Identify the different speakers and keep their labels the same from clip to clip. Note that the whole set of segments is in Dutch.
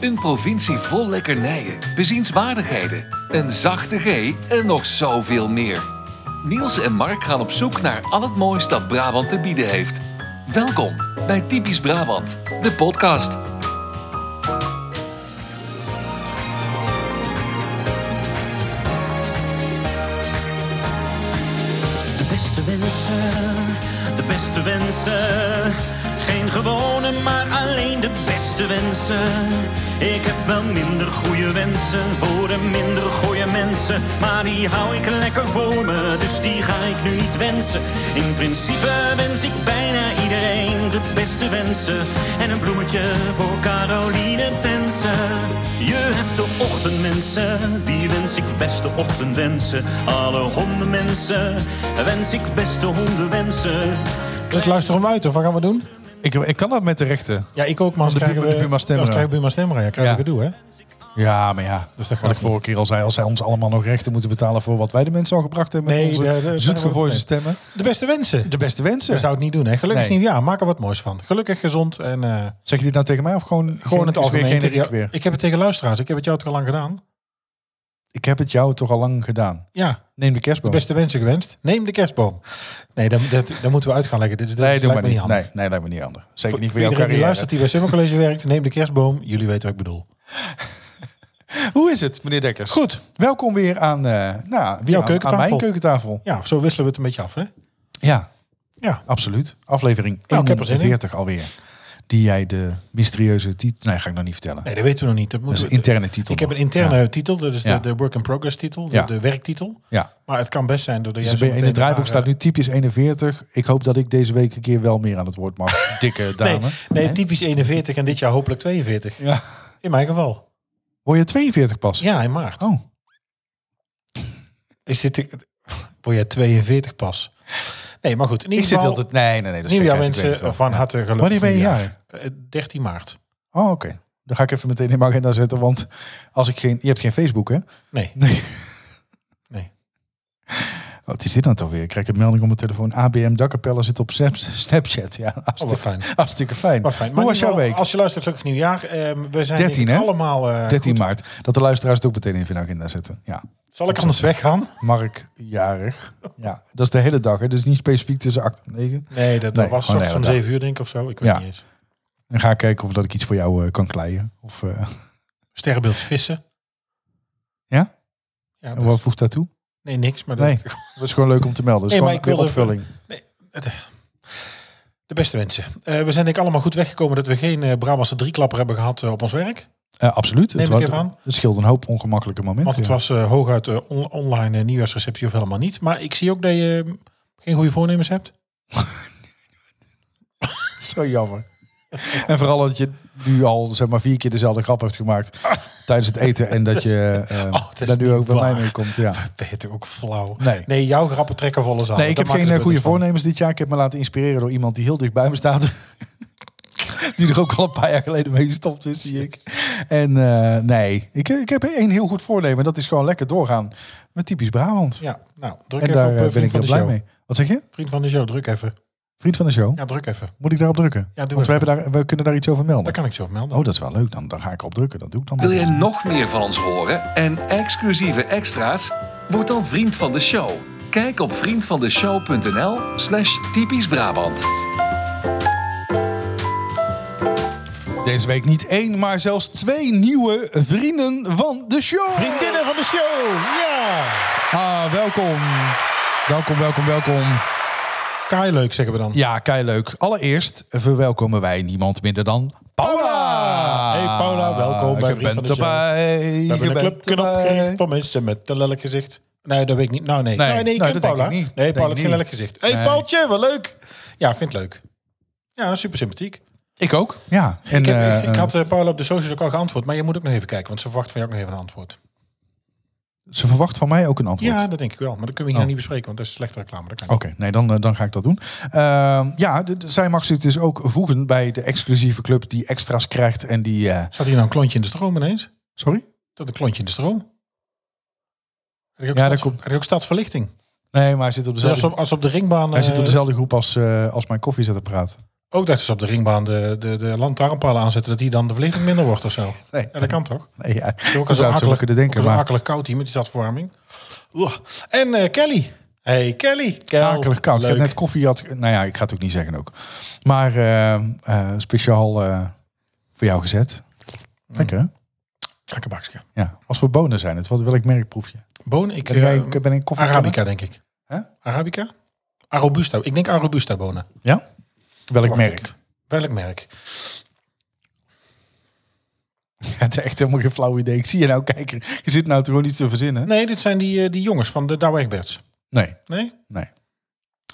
Speaker 1: Een provincie vol lekkernijen, bezienswaardigheden, een zachte G en nog zoveel meer. Niels en Mark gaan op zoek naar al het moois dat Brabant te bieden heeft. Welkom bij Typisch Brabant, de podcast.
Speaker 2: De beste wensen, de beste wensen. Geen gewone, maar alleen de beste wensen. Ik heb wel minder goede wensen voor de minder goede mensen. Maar die hou ik lekker voor me, dus die ga ik nu niet wensen. In principe wens ik bijna iedereen de beste wensen. En een bloemetje voor Caroline Tensen. Je hebt de ochtendmensen, die wens ik beste ochtendwensen. Alle hondenmensen, wens ik beste hondenwensen.
Speaker 3: Dus luister hem uit, of wat gaan we doen?
Speaker 4: Ik, ik kan dat met de rechten.
Speaker 3: Ja, ik ook, maar
Speaker 4: Van de Bu- de Buma Stemra.
Speaker 3: anders krijgen we Buma Stemra. Ja, krijgen we
Speaker 4: Ja.
Speaker 3: gedoe, hè?
Speaker 4: Ja, maar ja.
Speaker 3: Dus dat gaat
Speaker 4: wat ik
Speaker 3: niet.
Speaker 4: vorige keer al zei, als zij ons allemaal nog rechten moeten betalen voor wat wij de mensen al gebracht hebben met
Speaker 3: Nee, daar- daar zijn
Speaker 4: onze
Speaker 3: we ook
Speaker 4: zoetgevoelige
Speaker 3: mee.
Speaker 4: stemmen.
Speaker 3: De beste wensen.
Speaker 4: De beste wensen.
Speaker 3: We zouden het niet doen, hè? Gelukkig
Speaker 4: Nee.
Speaker 3: niet. Ja, maak er wat moois van. Gelukkig, gezond en eh,
Speaker 4: Zeg je dit nou tegen mij of gewoon,
Speaker 3: gewoon het
Speaker 4: is
Speaker 3: algemeen.
Speaker 4: weer
Speaker 3: tegen
Speaker 4: generiek
Speaker 3: jou-
Speaker 4: weer? Ik,
Speaker 3: Ik heb het tegen luisteraars. Ik heb het jou toch al lang gedaan?
Speaker 4: heb het jou toch al lang gedaan.
Speaker 3: Ja,
Speaker 4: Neem de kerstboom.
Speaker 3: de beste wensen gewenst. Neem de kerstboom. Nee, dat, dat, dat moeten we uit gaan leggen. Dit, is dat
Speaker 4: nee, doe
Speaker 3: lijkt
Speaker 4: maar
Speaker 3: me
Speaker 4: niet.
Speaker 3: handig.
Speaker 4: nee, nee, lijkt me niet anders.
Speaker 3: Voor-
Speaker 4: Zeker niet voor
Speaker 3: voor
Speaker 4: jouw
Speaker 3: iedereen die
Speaker 4: carrière.
Speaker 3: luistert die bij Simmer College werkt, neem de kerstboom. Jullie weten wat ik bedoel.
Speaker 4: Hoe is het, meneer Dekkers?
Speaker 3: Goed.
Speaker 4: Welkom weer aan, eh nou, weer
Speaker 3: Jouw
Speaker 4: aan, aan
Speaker 3: keukentafel.
Speaker 4: mijn keukentafel.
Speaker 3: Ja, zo wisselen we het een beetje af, hè?
Speaker 4: Ja,
Speaker 3: Ja.
Speaker 4: absoluut. Aflevering
Speaker 3: Nou, ik heb er zin in.
Speaker 4: 41 alweer. Die jij de mysterieuze titel... Nee, ga ik nog niet vertellen.
Speaker 3: Nee, dat weten we nog niet. Dat,
Speaker 4: Dat is
Speaker 3: moeten
Speaker 4: een
Speaker 3: we-
Speaker 4: interne titel.
Speaker 3: Ik heb een
Speaker 4: nog.
Speaker 3: interne
Speaker 4: Ja.
Speaker 3: titel, dat is
Speaker 4: Ja.
Speaker 3: de, de work in progress titel, de,
Speaker 4: Ja.
Speaker 3: de werktitel.
Speaker 4: ja.
Speaker 3: Maar het kan best zijn doordat
Speaker 4: Dus
Speaker 3: jij
Speaker 4: in
Speaker 3: zometeen
Speaker 4: het draaiboek
Speaker 3: daar,
Speaker 4: staat
Speaker 3: eh,
Speaker 4: nu typisch 41. Ik hoop dat ik deze week een keer wel meer aan het woord mag. Dikke dame.
Speaker 3: Nee, nee, typisch 41 en dit jaar hopelijk 42.
Speaker 4: Ja.
Speaker 3: In mijn geval.
Speaker 4: Word je 42 pas?
Speaker 3: Ja, in maart.
Speaker 4: Oh,
Speaker 3: Is dit... de- Word jij 42 pas? Nee, maar goed. In
Speaker 4: ik
Speaker 3: ieder
Speaker 4: zit
Speaker 3: geval,
Speaker 4: altijd... Nee, nee, nee. Dat is
Speaker 3: nieuwjaar
Speaker 4: gekheid, ik weet het wel.
Speaker 3: mensen van
Speaker 4: Ja.
Speaker 3: harte gelukkig
Speaker 4: Wanneer ben je
Speaker 3: nieuwjaar.
Speaker 4: jaar?
Speaker 3: Eh, 13 maart.
Speaker 4: Oh, oké. Dan ga ik even meteen in mijn agenda zetten. Want als ik geen... Je hebt geen Facebook, hè?
Speaker 3: Nee.
Speaker 4: Nee.
Speaker 3: Nee. Oh,
Speaker 4: Wat is dit dan toch weer? Ik krijg een melding op mijn telefoon. ABM Dakkenpeller zit op Snap- Snapchat. Ja,
Speaker 3: Oh, wat
Speaker 4: hartstikke,
Speaker 3: fijn.
Speaker 4: hartstikke fijn.
Speaker 3: Maar fijn. Maar
Speaker 4: Hoe was
Speaker 3: in
Speaker 4: jouw
Speaker 3: ieder geval,
Speaker 4: week?
Speaker 3: Als je luistert, gelukkig nieuwjaar. Ehm, we zijn
Speaker 4: 13,
Speaker 3: denk ik
Speaker 4: hè?
Speaker 3: allemaal... eh,
Speaker 4: 13
Speaker 3: goed.
Speaker 4: maart. Dat de luisteraars het ook meteen in hun agenda zetten. Ja.
Speaker 3: Zal ik anders weggaan?
Speaker 4: Mark jarig. Ja, dat is de hele dag. Hè? Dus niet specifiek tussen 8 en 9.
Speaker 3: Nee, dat, dat
Speaker 4: Nee,
Speaker 3: was
Speaker 4: oh, nee,
Speaker 3: soms om
Speaker 4: dat-
Speaker 3: 7 uur denk ik of zo. Ik weet
Speaker 4: Ja.
Speaker 3: niet eens.
Speaker 4: Dan ga ik kijken of dat ik iets voor jou eh, kan kleien. Of, eh,
Speaker 3: Sterrenbeeld vissen.
Speaker 4: ja?
Speaker 3: Ja,
Speaker 4: En
Speaker 3: dat-
Speaker 4: wat voegt daartoe?
Speaker 3: Nee, niks. Maar dat,
Speaker 4: Nee, dat is gewoon leuk om te melden. Dat is
Speaker 3: Nee, maar
Speaker 4: gewoon
Speaker 3: ik
Speaker 4: weer
Speaker 3: wilde
Speaker 4: opvulling.
Speaker 3: De beste wensen. Eh, we zijn denk ik allemaal goed weggekomen dat we geen eh Brabantse drieklapper hebben gehad eh, op ons werk.
Speaker 4: Eh, absoluut.
Speaker 3: Neem
Speaker 4: het,
Speaker 3: ik
Speaker 4: wa-
Speaker 3: even aan.
Speaker 4: het scheelt een hoop ongemakkelijke momenten.
Speaker 3: Want het
Speaker 4: ja.
Speaker 3: was eh, hooguit eh, on- online eh, nieuwjaarsreceptie of helemaal niet. Maar ik zie ook dat je eh, geen goede voornemens hebt.
Speaker 4: Zo jammer. En vooral dat je nu al zeg maar, vier keer dezelfde grap hebt gemaakt tijdens het eten. En dat je eh
Speaker 3: Oh, dat is
Speaker 4: daar nu
Speaker 3: niet
Speaker 4: ook bij
Speaker 3: waar.
Speaker 4: mij mee komt. Ja.
Speaker 3: Ben je toch ook flauw?
Speaker 4: Nee.
Speaker 3: Nee, jouw grappen trekken volle zaal.
Speaker 4: Nee, ik
Speaker 3: Nou, Dat
Speaker 4: heb
Speaker 3: maakt
Speaker 4: geen
Speaker 3: er
Speaker 4: eh, goede
Speaker 3: nuttig van.
Speaker 4: voornemens dit jaar. Ik heb me laten inspireren door iemand die heel dicht bij me staat. die er ook al een paar jaar geleden mee gestopt is, zie ik. En eh, nee, ik, ik heb één heel goed voornemen. en Dat is gewoon lekker doorgaan met typisch Brabant.
Speaker 3: Ja, nou, druk
Speaker 4: en
Speaker 3: even
Speaker 4: daar
Speaker 3: op
Speaker 4: eh,
Speaker 3: eh,
Speaker 4: ben
Speaker 3: vriend
Speaker 4: ik
Speaker 3: van
Speaker 4: heel
Speaker 3: de
Speaker 4: blij
Speaker 3: show.
Speaker 4: mee. Wat zeg je?
Speaker 3: Vriend van de show, druk even.
Speaker 4: Vriend van de show?
Speaker 3: Ja, druk even.
Speaker 4: Moet ik daarop drukken?
Speaker 3: Ja, doe
Speaker 4: Want we,
Speaker 3: even.
Speaker 4: hebben daar, we kunnen daar iets over melden.
Speaker 3: Daar kan ik zo over melden.
Speaker 4: Oh, dat is wel leuk. Dan, dan ga ik op drukken. Dat doe ik dan.
Speaker 1: Wil
Speaker 4: wel.
Speaker 1: jij nog meer van ons horen en exclusieve extra's? Word dan vriend van de show. Kijk op vriendvandeshow.nl slash typisch Brabant.
Speaker 4: Deze week niet één, maar zelfs twee nieuwe vrienden van de show.
Speaker 3: Vriendinnen van de show! Ja!
Speaker 4: Ah, welkom. Welkom, welkom, welkom.
Speaker 3: Kaai leuk, zeggen we dan.
Speaker 4: Ja, kei leuk. Allereerst verwelkomen wij niemand minder dan Paula.
Speaker 3: Hey, Paula, welkom bij
Speaker 4: je
Speaker 3: Vriend van
Speaker 4: bent
Speaker 3: de Show.
Speaker 4: erbij.
Speaker 3: We hebben een
Speaker 4: je bent
Speaker 3: clubknop
Speaker 4: erbij.
Speaker 3: opgericht voor mensen met een lelijk gezicht. Nee, dat weet ik niet. Nou, nee.
Speaker 4: Nee,
Speaker 3: nee, nee, ik
Speaker 4: nee,
Speaker 3: ken
Speaker 4: dat denk
Speaker 3: Paula.
Speaker 4: ik niet.
Speaker 3: Nee,
Speaker 4: Denk
Speaker 3: Paula
Speaker 4: ik
Speaker 3: heeft geen lelijk
Speaker 4: niet.
Speaker 3: gezicht. Hé, hey,
Speaker 4: Nee.
Speaker 3: Paaltje, wel leuk. Ja, vind het leuk. Ja, super sympathiek.
Speaker 4: Ik ook. Ja. En,
Speaker 3: ik, heb, ik-
Speaker 4: eh,
Speaker 3: ik had eh, Paula op de socials ook al geantwoord, maar je moet ook nog even kijken, want ze verwacht van jou ook nog even een antwoord.
Speaker 4: Ze verwacht van mij ook een antwoord.
Speaker 3: Ja, dat denk ik wel. Maar dat kunnen we hier nou niet bespreken, want dat is slechte reclame. Dat kan
Speaker 4: Oké, nee, dan, eh, dan ga ik dat doen. Eh, ja, d- d- zij mag zich dus ook voegen bij de exclusieve club die extra's krijgt en die... eh,
Speaker 3: niet. Zat hier nou een klontje in de stroom ineens?
Speaker 4: sorry?
Speaker 3: Dat een klontje in de stroom? Had ik ook,
Speaker 4: Ja,
Speaker 3: stads-
Speaker 4: dat komt-
Speaker 3: had ik ook stadsverlichting.
Speaker 4: Nee, nee, maar hij zit op
Speaker 3: Dus als
Speaker 4: dezelfde,
Speaker 3: op, als op de ringbaan...
Speaker 4: hij
Speaker 3: eh,
Speaker 4: zit op dezelfde groep als, eh, als mijn koffiezetter praat.
Speaker 3: Ook dat ze op de ringbaan de, de, de lantaarnpalen aanzetten, dat die dan de verlichting minder wordt of zo.
Speaker 4: Nee.
Speaker 3: Ja, dat kan toch?
Speaker 4: Nee, ja.
Speaker 3: Ook
Speaker 4: Dat zou ik zo kunnen denken.
Speaker 3: Zo
Speaker 4: Maar
Speaker 3: akelig koud hier met die stadsverwarming. Oeh. En eh, Kelly. Hey Kelly. Kel.
Speaker 4: akelig koud. Ik
Speaker 3: Leuk.
Speaker 4: heb net koffie gehad. Nou ja, ik ga het ook niet zeggen ook. Maar eh, eh, speciaal eh, voor jou gezet.
Speaker 3: Mm.
Speaker 4: Lekker hè?
Speaker 3: Lekker bakje.
Speaker 4: Ja. Als we bonen zijn het. Wat welk merk proef je?
Speaker 3: Bonen. Ik,
Speaker 4: Ben jij,
Speaker 3: eh,
Speaker 4: ben ik koffie
Speaker 3: Arabica denk ik.
Speaker 4: Hè?
Speaker 3: Arabica? Arabusta. Ik denk Arabusta bonen.
Speaker 4: Ja? Welk
Speaker 3: Wacht,
Speaker 4: merk?
Speaker 3: ik- Welk merk?
Speaker 4: Het is echt helemaal geen flauw idee. Ik zie je nou kijken. Je zit nou toch gewoon iets te verzinnen?
Speaker 3: Nee, dit zijn die, eh, die jongens van de Douwe Egberts.
Speaker 4: Nee,
Speaker 3: Nee?
Speaker 4: nee.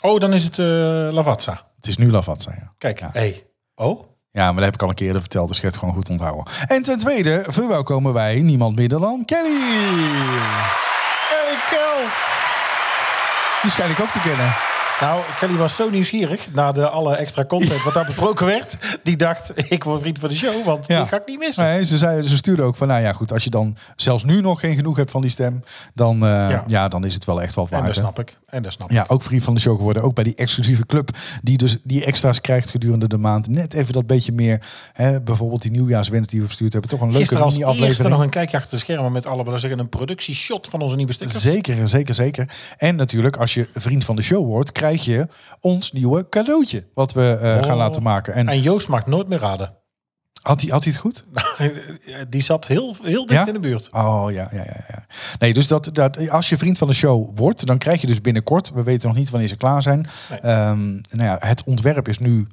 Speaker 3: Oh, dan is het eh Lavazza.
Speaker 4: Het is nu Lavazza, ja.
Speaker 3: Kijk.
Speaker 4: Ja.
Speaker 3: Hey. Oh?
Speaker 4: Ja, maar dat heb ik al een keer eerder verteld, dus ik ga het gewoon goed onthouden. En ten tweede verwelkomen wij niemand minder dan Kelly. Hey, Kel. Die schijn ik ook te kennen.
Speaker 3: Nou, Kelly was zo nieuwsgierig na de alle extra content wat daar besproken werd. Die dacht, ik word vriend van de show, want
Speaker 4: Ja.
Speaker 3: die ga ik niet missen.
Speaker 4: Nee, ze, zei, ze stuurde ook van, nou ja, goed, als je dan zelfs nu nog geen genoeg hebt van die stem, dan, eh, ja.
Speaker 3: Ja.
Speaker 4: dan is het wel echt wat
Speaker 3: En
Speaker 4: waard.
Speaker 3: dat
Speaker 4: hè?
Speaker 3: snap ik. En dat snap ik.
Speaker 4: Ja, ook vriend van de show geworden. Ook bij die exclusieve club die dus die extra's krijgt gedurende de maand. Net even dat beetje meer. Hè, bijvoorbeeld die nieuwjaarswennet die we verstuurd hebben. Toch een leuke
Speaker 3: Gisteren als eerste nog
Speaker 4: mini-aflevering.
Speaker 3: een kijkje achter de schermen met alle, wat zeggen, een productieshot van onze nieuwe stickers.
Speaker 4: Zeker, zeker, zeker. En natuurlijk, als je vriend van de show wordt, krijg je ons nieuwe cadeautje. Wat we eh,
Speaker 3: Oh.
Speaker 4: gaan laten maken. En
Speaker 3: En Joost mag nooit meer raden.
Speaker 4: had hij had hij het goed?
Speaker 3: die zat heel, heel dicht
Speaker 4: Ja?
Speaker 3: in de buurt.
Speaker 4: Oh ja, ja, ja. ja. Nee, dus dat, dat, als je vriend van de show wordt, dan krijg je dus binnenkort, we weten nog niet wanneer ze klaar zijn.
Speaker 3: Nee.
Speaker 4: Ehm, nou ja, het ontwerp is nu,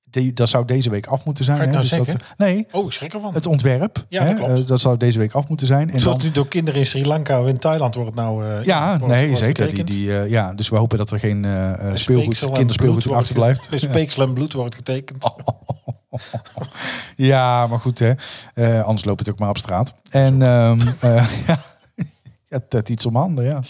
Speaker 4: de- dat zou deze week af moeten zijn.
Speaker 3: Ga je het
Speaker 4: hè,
Speaker 3: nou
Speaker 4: dus dat, nee,
Speaker 3: Oh, ik schrik ervan.
Speaker 4: het ontwerp,
Speaker 3: Ja,
Speaker 4: hè,
Speaker 3: dat klopt.
Speaker 4: eh, dat zou deze week af moeten zijn. En
Speaker 3: Het wordt
Speaker 4: dan-
Speaker 3: nu door kinderen in Sri Lanka of in Thailand wordt het nou... eh,
Speaker 4: ja,
Speaker 3: wordt-
Speaker 4: nee,
Speaker 3: wordt
Speaker 4: zeker. Die,
Speaker 3: getekend.
Speaker 4: die, eh, ja, dus we hopen dat er geen eh, eh, speelgoed,
Speaker 3: Speeksel en
Speaker 4: kinderspeelgoed
Speaker 3: bloed
Speaker 4: in
Speaker 3: wordt
Speaker 4: achterblijft. Oh,
Speaker 3: ge- Speeksel en bloed wordt getekend.
Speaker 4: Ja, maar goed hè. Eh, anders loopt het ook maar op straat. En ehm eh, ja, het, het iets om handen, ja.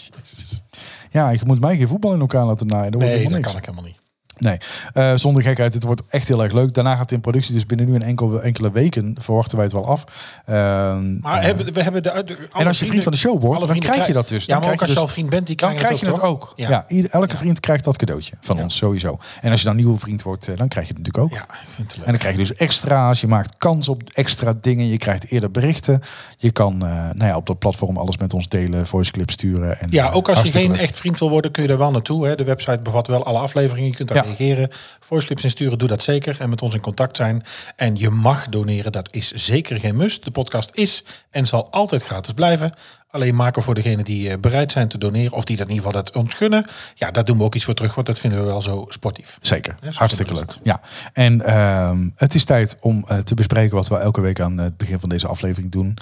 Speaker 4: Ja, je moet mij geen voetbal in elkaar laten naaien. Dat wordt
Speaker 3: Nee,
Speaker 4: helemaal
Speaker 3: dat
Speaker 4: niks.
Speaker 3: kan ik helemaal niet.
Speaker 4: Nee, Eh, zonder gekheid. Het wordt echt heel erg leuk. Daarna gaat het in productie. Dus binnen nu en enkel, enkele weken verwachten wij het wel af. Ehm,
Speaker 3: Maar
Speaker 4: eh,
Speaker 3: hebben, we hebben de... uit- alle
Speaker 4: en als je vriend
Speaker 3: vrienden-
Speaker 4: van de show wordt,
Speaker 3: alle
Speaker 4: dan
Speaker 3: vrienden
Speaker 4: krijg je
Speaker 3: krijgen-
Speaker 4: dat dus.
Speaker 3: Ja,
Speaker 4: Dan
Speaker 3: maar ook
Speaker 4: krijg
Speaker 3: als
Speaker 4: je
Speaker 3: je
Speaker 4: dus-
Speaker 3: al vriend bent, die
Speaker 4: dan
Speaker 3: krijgen
Speaker 4: krijg je het
Speaker 3: toch?
Speaker 4: ook. Ja.
Speaker 3: Ja.
Speaker 4: ieder- elke vriend krijgt dat cadeautje van
Speaker 3: Ja.
Speaker 4: ons sowieso. En als je dan nieuwe vriend wordt, eh, dan krijg je het natuurlijk ook.
Speaker 3: Ja, ik vind het leuk.
Speaker 4: En dan krijg je dus extra's. Je maakt kans op extra dingen. Je krijgt eerder berichten. Je kan eh, nou ja, op dat platform alles met ons delen, voice clips sturen. En,
Speaker 3: Ja, ook
Speaker 4: eh,
Speaker 3: als je
Speaker 4: hartstikke
Speaker 3: geen
Speaker 4: leuk.
Speaker 3: echt vriend wil worden, kun je daar wel naartoe. Hè. De website bevat wel alle afleveringen. Je kunt daar
Speaker 4: Ja.
Speaker 3: reageren. Voiceclips insturen, doe dat zeker. En met ons in contact zijn. En je mag doneren, dat is zeker geen must. De podcast is en zal altijd gratis blijven. Alleen maken voor degenen die eh, bereid zijn te doneren. Of die dat in ieder geval dat ons gunnen. Ja, daar doen we ook iets voor terug, want dat vinden we wel zo sportief.
Speaker 4: Zeker,
Speaker 3: Ja, zo
Speaker 4: hartstikke
Speaker 3: simpel
Speaker 4: leuk.
Speaker 3: is
Speaker 4: Ja. En ehm, het is tijd om eh, te bespreken wat we elke week aan eh, het begin van deze aflevering doen.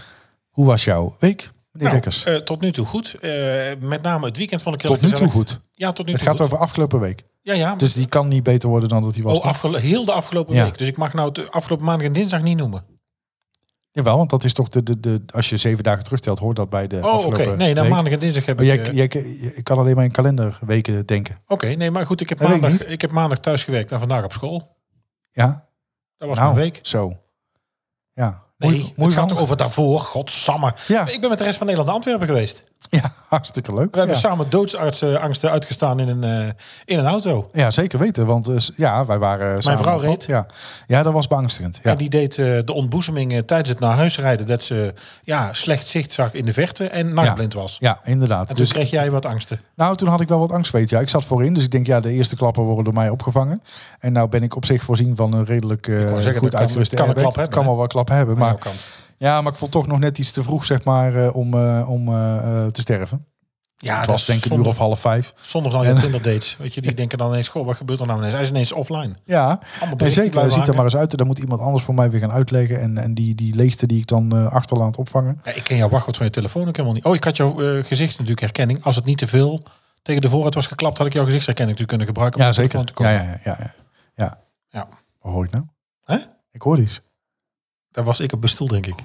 Speaker 4: Hoe was jouw week, meneer
Speaker 3: Nou,
Speaker 4: Dekkers?
Speaker 3: eh, tot nu toe goed. Eh, met name het weekend vond ik heel
Speaker 4: Tot nu toe
Speaker 3: gezellig.
Speaker 4: goed.
Speaker 3: Ja, tot nu
Speaker 4: Het
Speaker 3: toe
Speaker 4: gaat
Speaker 3: goed.
Speaker 4: over afgelopen week.
Speaker 3: Ja, ja.
Speaker 4: Dus die kan niet beter worden dan dat hij was.
Speaker 3: oh,
Speaker 4: toch?
Speaker 3: afgelo- heel de afgelopen
Speaker 4: Ja.
Speaker 3: week. Dus ik mag nou de afgelopen maandag en dinsdag niet noemen.
Speaker 4: Jawel, want dat is toch de, de, de. Als je zeven dagen terugtelt, hoort dat bij de.
Speaker 3: Oh, oké.
Speaker 4: afgelopen
Speaker 3: Nee, dan
Speaker 4: week.
Speaker 3: maandag en dinsdag heb
Speaker 4: Oh,
Speaker 3: ik...
Speaker 4: jij,
Speaker 3: eh,
Speaker 4: jij, ik kan alleen maar in kalenderweken denken.
Speaker 3: Oké, nee, maar goed, ik heb,
Speaker 4: Dat weet ik
Speaker 3: maandag, ik,
Speaker 4: niet.
Speaker 3: heb maandag thuis gewerkt en vandaag op school.
Speaker 4: Ja,
Speaker 3: Dat was
Speaker 4: nou,
Speaker 3: mijn week.
Speaker 4: Zo. Ja.
Speaker 3: Nee,
Speaker 4: Moei- moei
Speaker 3: het gaat
Speaker 4: van-
Speaker 3: toch over daarvoor? Godsamme.
Speaker 4: Ja.
Speaker 3: Ik ben met de rest van Nederland naar Antwerpen geweest. We
Speaker 4: Ja, hartstikke leuk.
Speaker 3: hebben
Speaker 4: ja.
Speaker 3: samen doodsangsten uitgestaan in een, eh, in een auto.
Speaker 4: Ja, zeker weten. Want eh, s- ja, wij waren Mijn
Speaker 3: vrouw reed.
Speaker 4: Ja. ja, dat was beangstigend. Ja.
Speaker 3: En die deed eh, de ontboezeming eh, tijdens het naar huis rijden. Dat ze ja, slecht zicht zag in de verte en nachtblind was.
Speaker 4: Ja, inderdaad.
Speaker 3: En toen
Speaker 4: dus,
Speaker 3: kreeg jij wat angsten.
Speaker 4: nou, toen had ik wel wat angstweet. Ja, ik zat voorin. Dus ik denk, ja, de eerste klappen worden door mij opgevangen. En nou ben ik op zich voorzien van een redelijk eh,
Speaker 3: wou zeggen,
Speaker 4: goed
Speaker 3: dat kan-
Speaker 4: uitgeruste
Speaker 3: kan een
Speaker 4: airbag.
Speaker 3: klap
Speaker 4: Het
Speaker 3: hebben,
Speaker 4: kan
Speaker 3: hè?
Speaker 4: wel wat klap hebben.
Speaker 3: Aan jouw
Speaker 4: Maar,
Speaker 3: kant.
Speaker 4: ja, maar ik vond toch nog net iets te vroeg, zeg maar, eh, om, eh, om eh, eh, te sterven.
Speaker 3: Ja,
Speaker 4: het
Speaker 3: dat
Speaker 4: was
Speaker 3: is
Speaker 4: denk ik een uur
Speaker 3: zonde-
Speaker 4: of half vijf.
Speaker 3: Zonder van al je Tinder dates. Weet je, die denken dan ineens, goh, wat gebeurt er nou ineens? Hij is ineens offline.
Speaker 4: Ja,
Speaker 3: Allemaal
Speaker 4: en
Speaker 3: berichten
Speaker 4: zeker.
Speaker 3: blijven
Speaker 4: Ziet er
Speaker 3: hangen.
Speaker 4: maar eens uit. Dan moet iemand anders voor mij weer gaan uitleggen. En, en die, die leegte die ik dan eh, achterlaat opvangen.
Speaker 3: Ja, ik ken jouw wachtwoord van je telefoon ook helemaal niet. Oh, ik had jouw eh, gezicht natuurlijk herkenning. Als het niet te veel tegen de voorraad was geklapt, had ik jouw gezichtsherkenning natuurlijk kunnen gebruiken. om
Speaker 4: Ja,
Speaker 3: op de
Speaker 4: zeker.
Speaker 3: telefoon
Speaker 4: Ja,
Speaker 3: Te
Speaker 4: ja, ja, ja, ja. ja.
Speaker 3: Ja.
Speaker 4: Wat hoor ik nou?
Speaker 3: komen. Hè?
Speaker 4: Ik hoor iets.
Speaker 3: Daar was ik op bestoel, denk ik.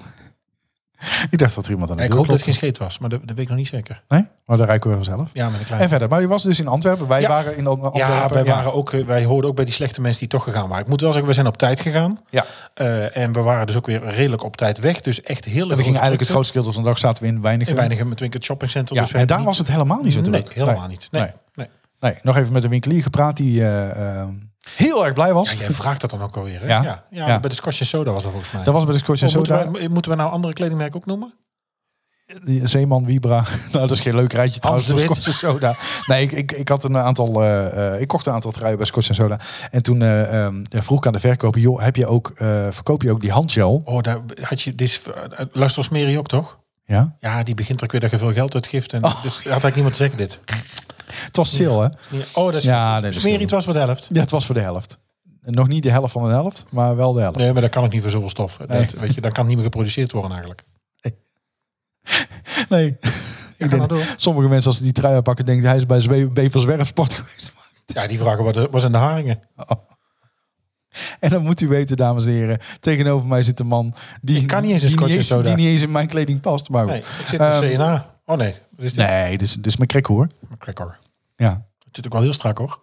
Speaker 4: Ik dacht dat er iemand aan de
Speaker 3: ik
Speaker 4: deur
Speaker 3: hoop dat het geen scheet
Speaker 4: klopte.
Speaker 3: was, maar dat, dat weet ik nog niet zeker.
Speaker 4: Nee? Maar daar rijken we vanzelf.
Speaker 3: Ja, met een kleine...
Speaker 4: En verder. Maar je was dus in Antwerpen. Wij
Speaker 3: Ja.
Speaker 4: waren in An- Antwerpen.
Speaker 3: Ja, wij, waren ook, eh, wij hoorden ook bij die slechte mensen die toch gegaan waren. Ik moet wel zeggen, we zijn op tijd gegaan.
Speaker 4: Ja.
Speaker 3: Eh, en we waren dus ook weer redelijk op tijd weg. Dus echt heel
Speaker 4: En we gingen eigenlijk het grootste deel van de dag zaten we in weinig.
Speaker 3: In Weinigem, het Winkert Shopping Center.
Speaker 4: Ja,
Speaker 3: dus we
Speaker 4: en daar
Speaker 3: hebben
Speaker 4: was het helemaal niet zo
Speaker 3: niet-
Speaker 4: druk.
Speaker 3: Nee, helemaal niet. Nee.
Speaker 4: Nee.
Speaker 3: Nee.
Speaker 4: Nee, nog even met een winkelier gepraat. Die, eh, eh, heel erg blij was.
Speaker 3: Ja, jij vraagt dat dan ook alweer. Hè?
Speaker 4: Ja.
Speaker 3: Ja. Ja,
Speaker 4: Ja.
Speaker 3: Bij de Scotch Soda was dat volgens mij.
Speaker 4: Dat was bij de Scotch en
Speaker 3: Oh,
Speaker 4: Soda.
Speaker 3: Moeten, we, moeten we nou andere kledingmerken ook noemen?
Speaker 4: Zeeman, Vibra. Nou, dat is geen leuk rijtje trouwens.
Speaker 3: Amsterdam.
Speaker 4: Scotch en Soda. Nee, ik, ik, ik had een aantal. eh, eh, ik kocht een aantal truien bij Scotch en Soda. En toen eh, ehm, vroeg ik aan de verkoper: joh, heb je ook, eh, verkoop je ook die handgel?
Speaker 3: Oh, daar had je... Dit is, eh, luister als Mary ook, toch?
Speaker 4: Ja.
Speaker 3: Ja, die begint ook weer dat je veel geld uitgift. En Dus had eigenlijk niemand zeggen dit.
Speaker 4: Het was sale, hè?
Speaker 3: Nee, Oh, dat is
Speaker 4: Ja, nee, dat is
Speaker 3: Smerig
Speaker 4: goed.
Speaker 3: was voor de helft.
Speaker 4: Ja, het was voor de helft. Nog niet de helft van de helft, maar wel de helft.
Speaker 3: Nee, maar dat kan ook niet voor zoveel stof. Dat, weet je, dat kan niet meer geproduceerd worden eigenlijk.
Speaker 4: Nee. Ik
Speaker 3: ga
Speaker 4: denk,
Speaker 3: maar door.
Speaker 4: sommige mensen als ze die trui aanpakken denken hij is bij Zwe- Beverswerfsport geweest.
Speaker 3: Ja, die vragen wat, wat zijn de haringen?
Speaker 4: En dan moet u weten, dames en heren, tegenover mij zit een man die
Speaker 3: Ik kan niet eens een
Speaker 4: die
Speaker 3: Scotch en
Speaker 4: eens-
Speaker 3: soda.
Speaker 4: die niet eens in mijn kleding past, maar goed.
Speaker 3: Nee, ik zit in
Speaker 4: Ehm,
Speaker 3: CNA. Oh nee, dat is dit?
Speaker 4: Nee, dit is, dit is mijn krek hoor.
Speaker 3: Cracker.
Speaker 4: Ja.
Speaker 3: Het zit ook wel heel strak hoor.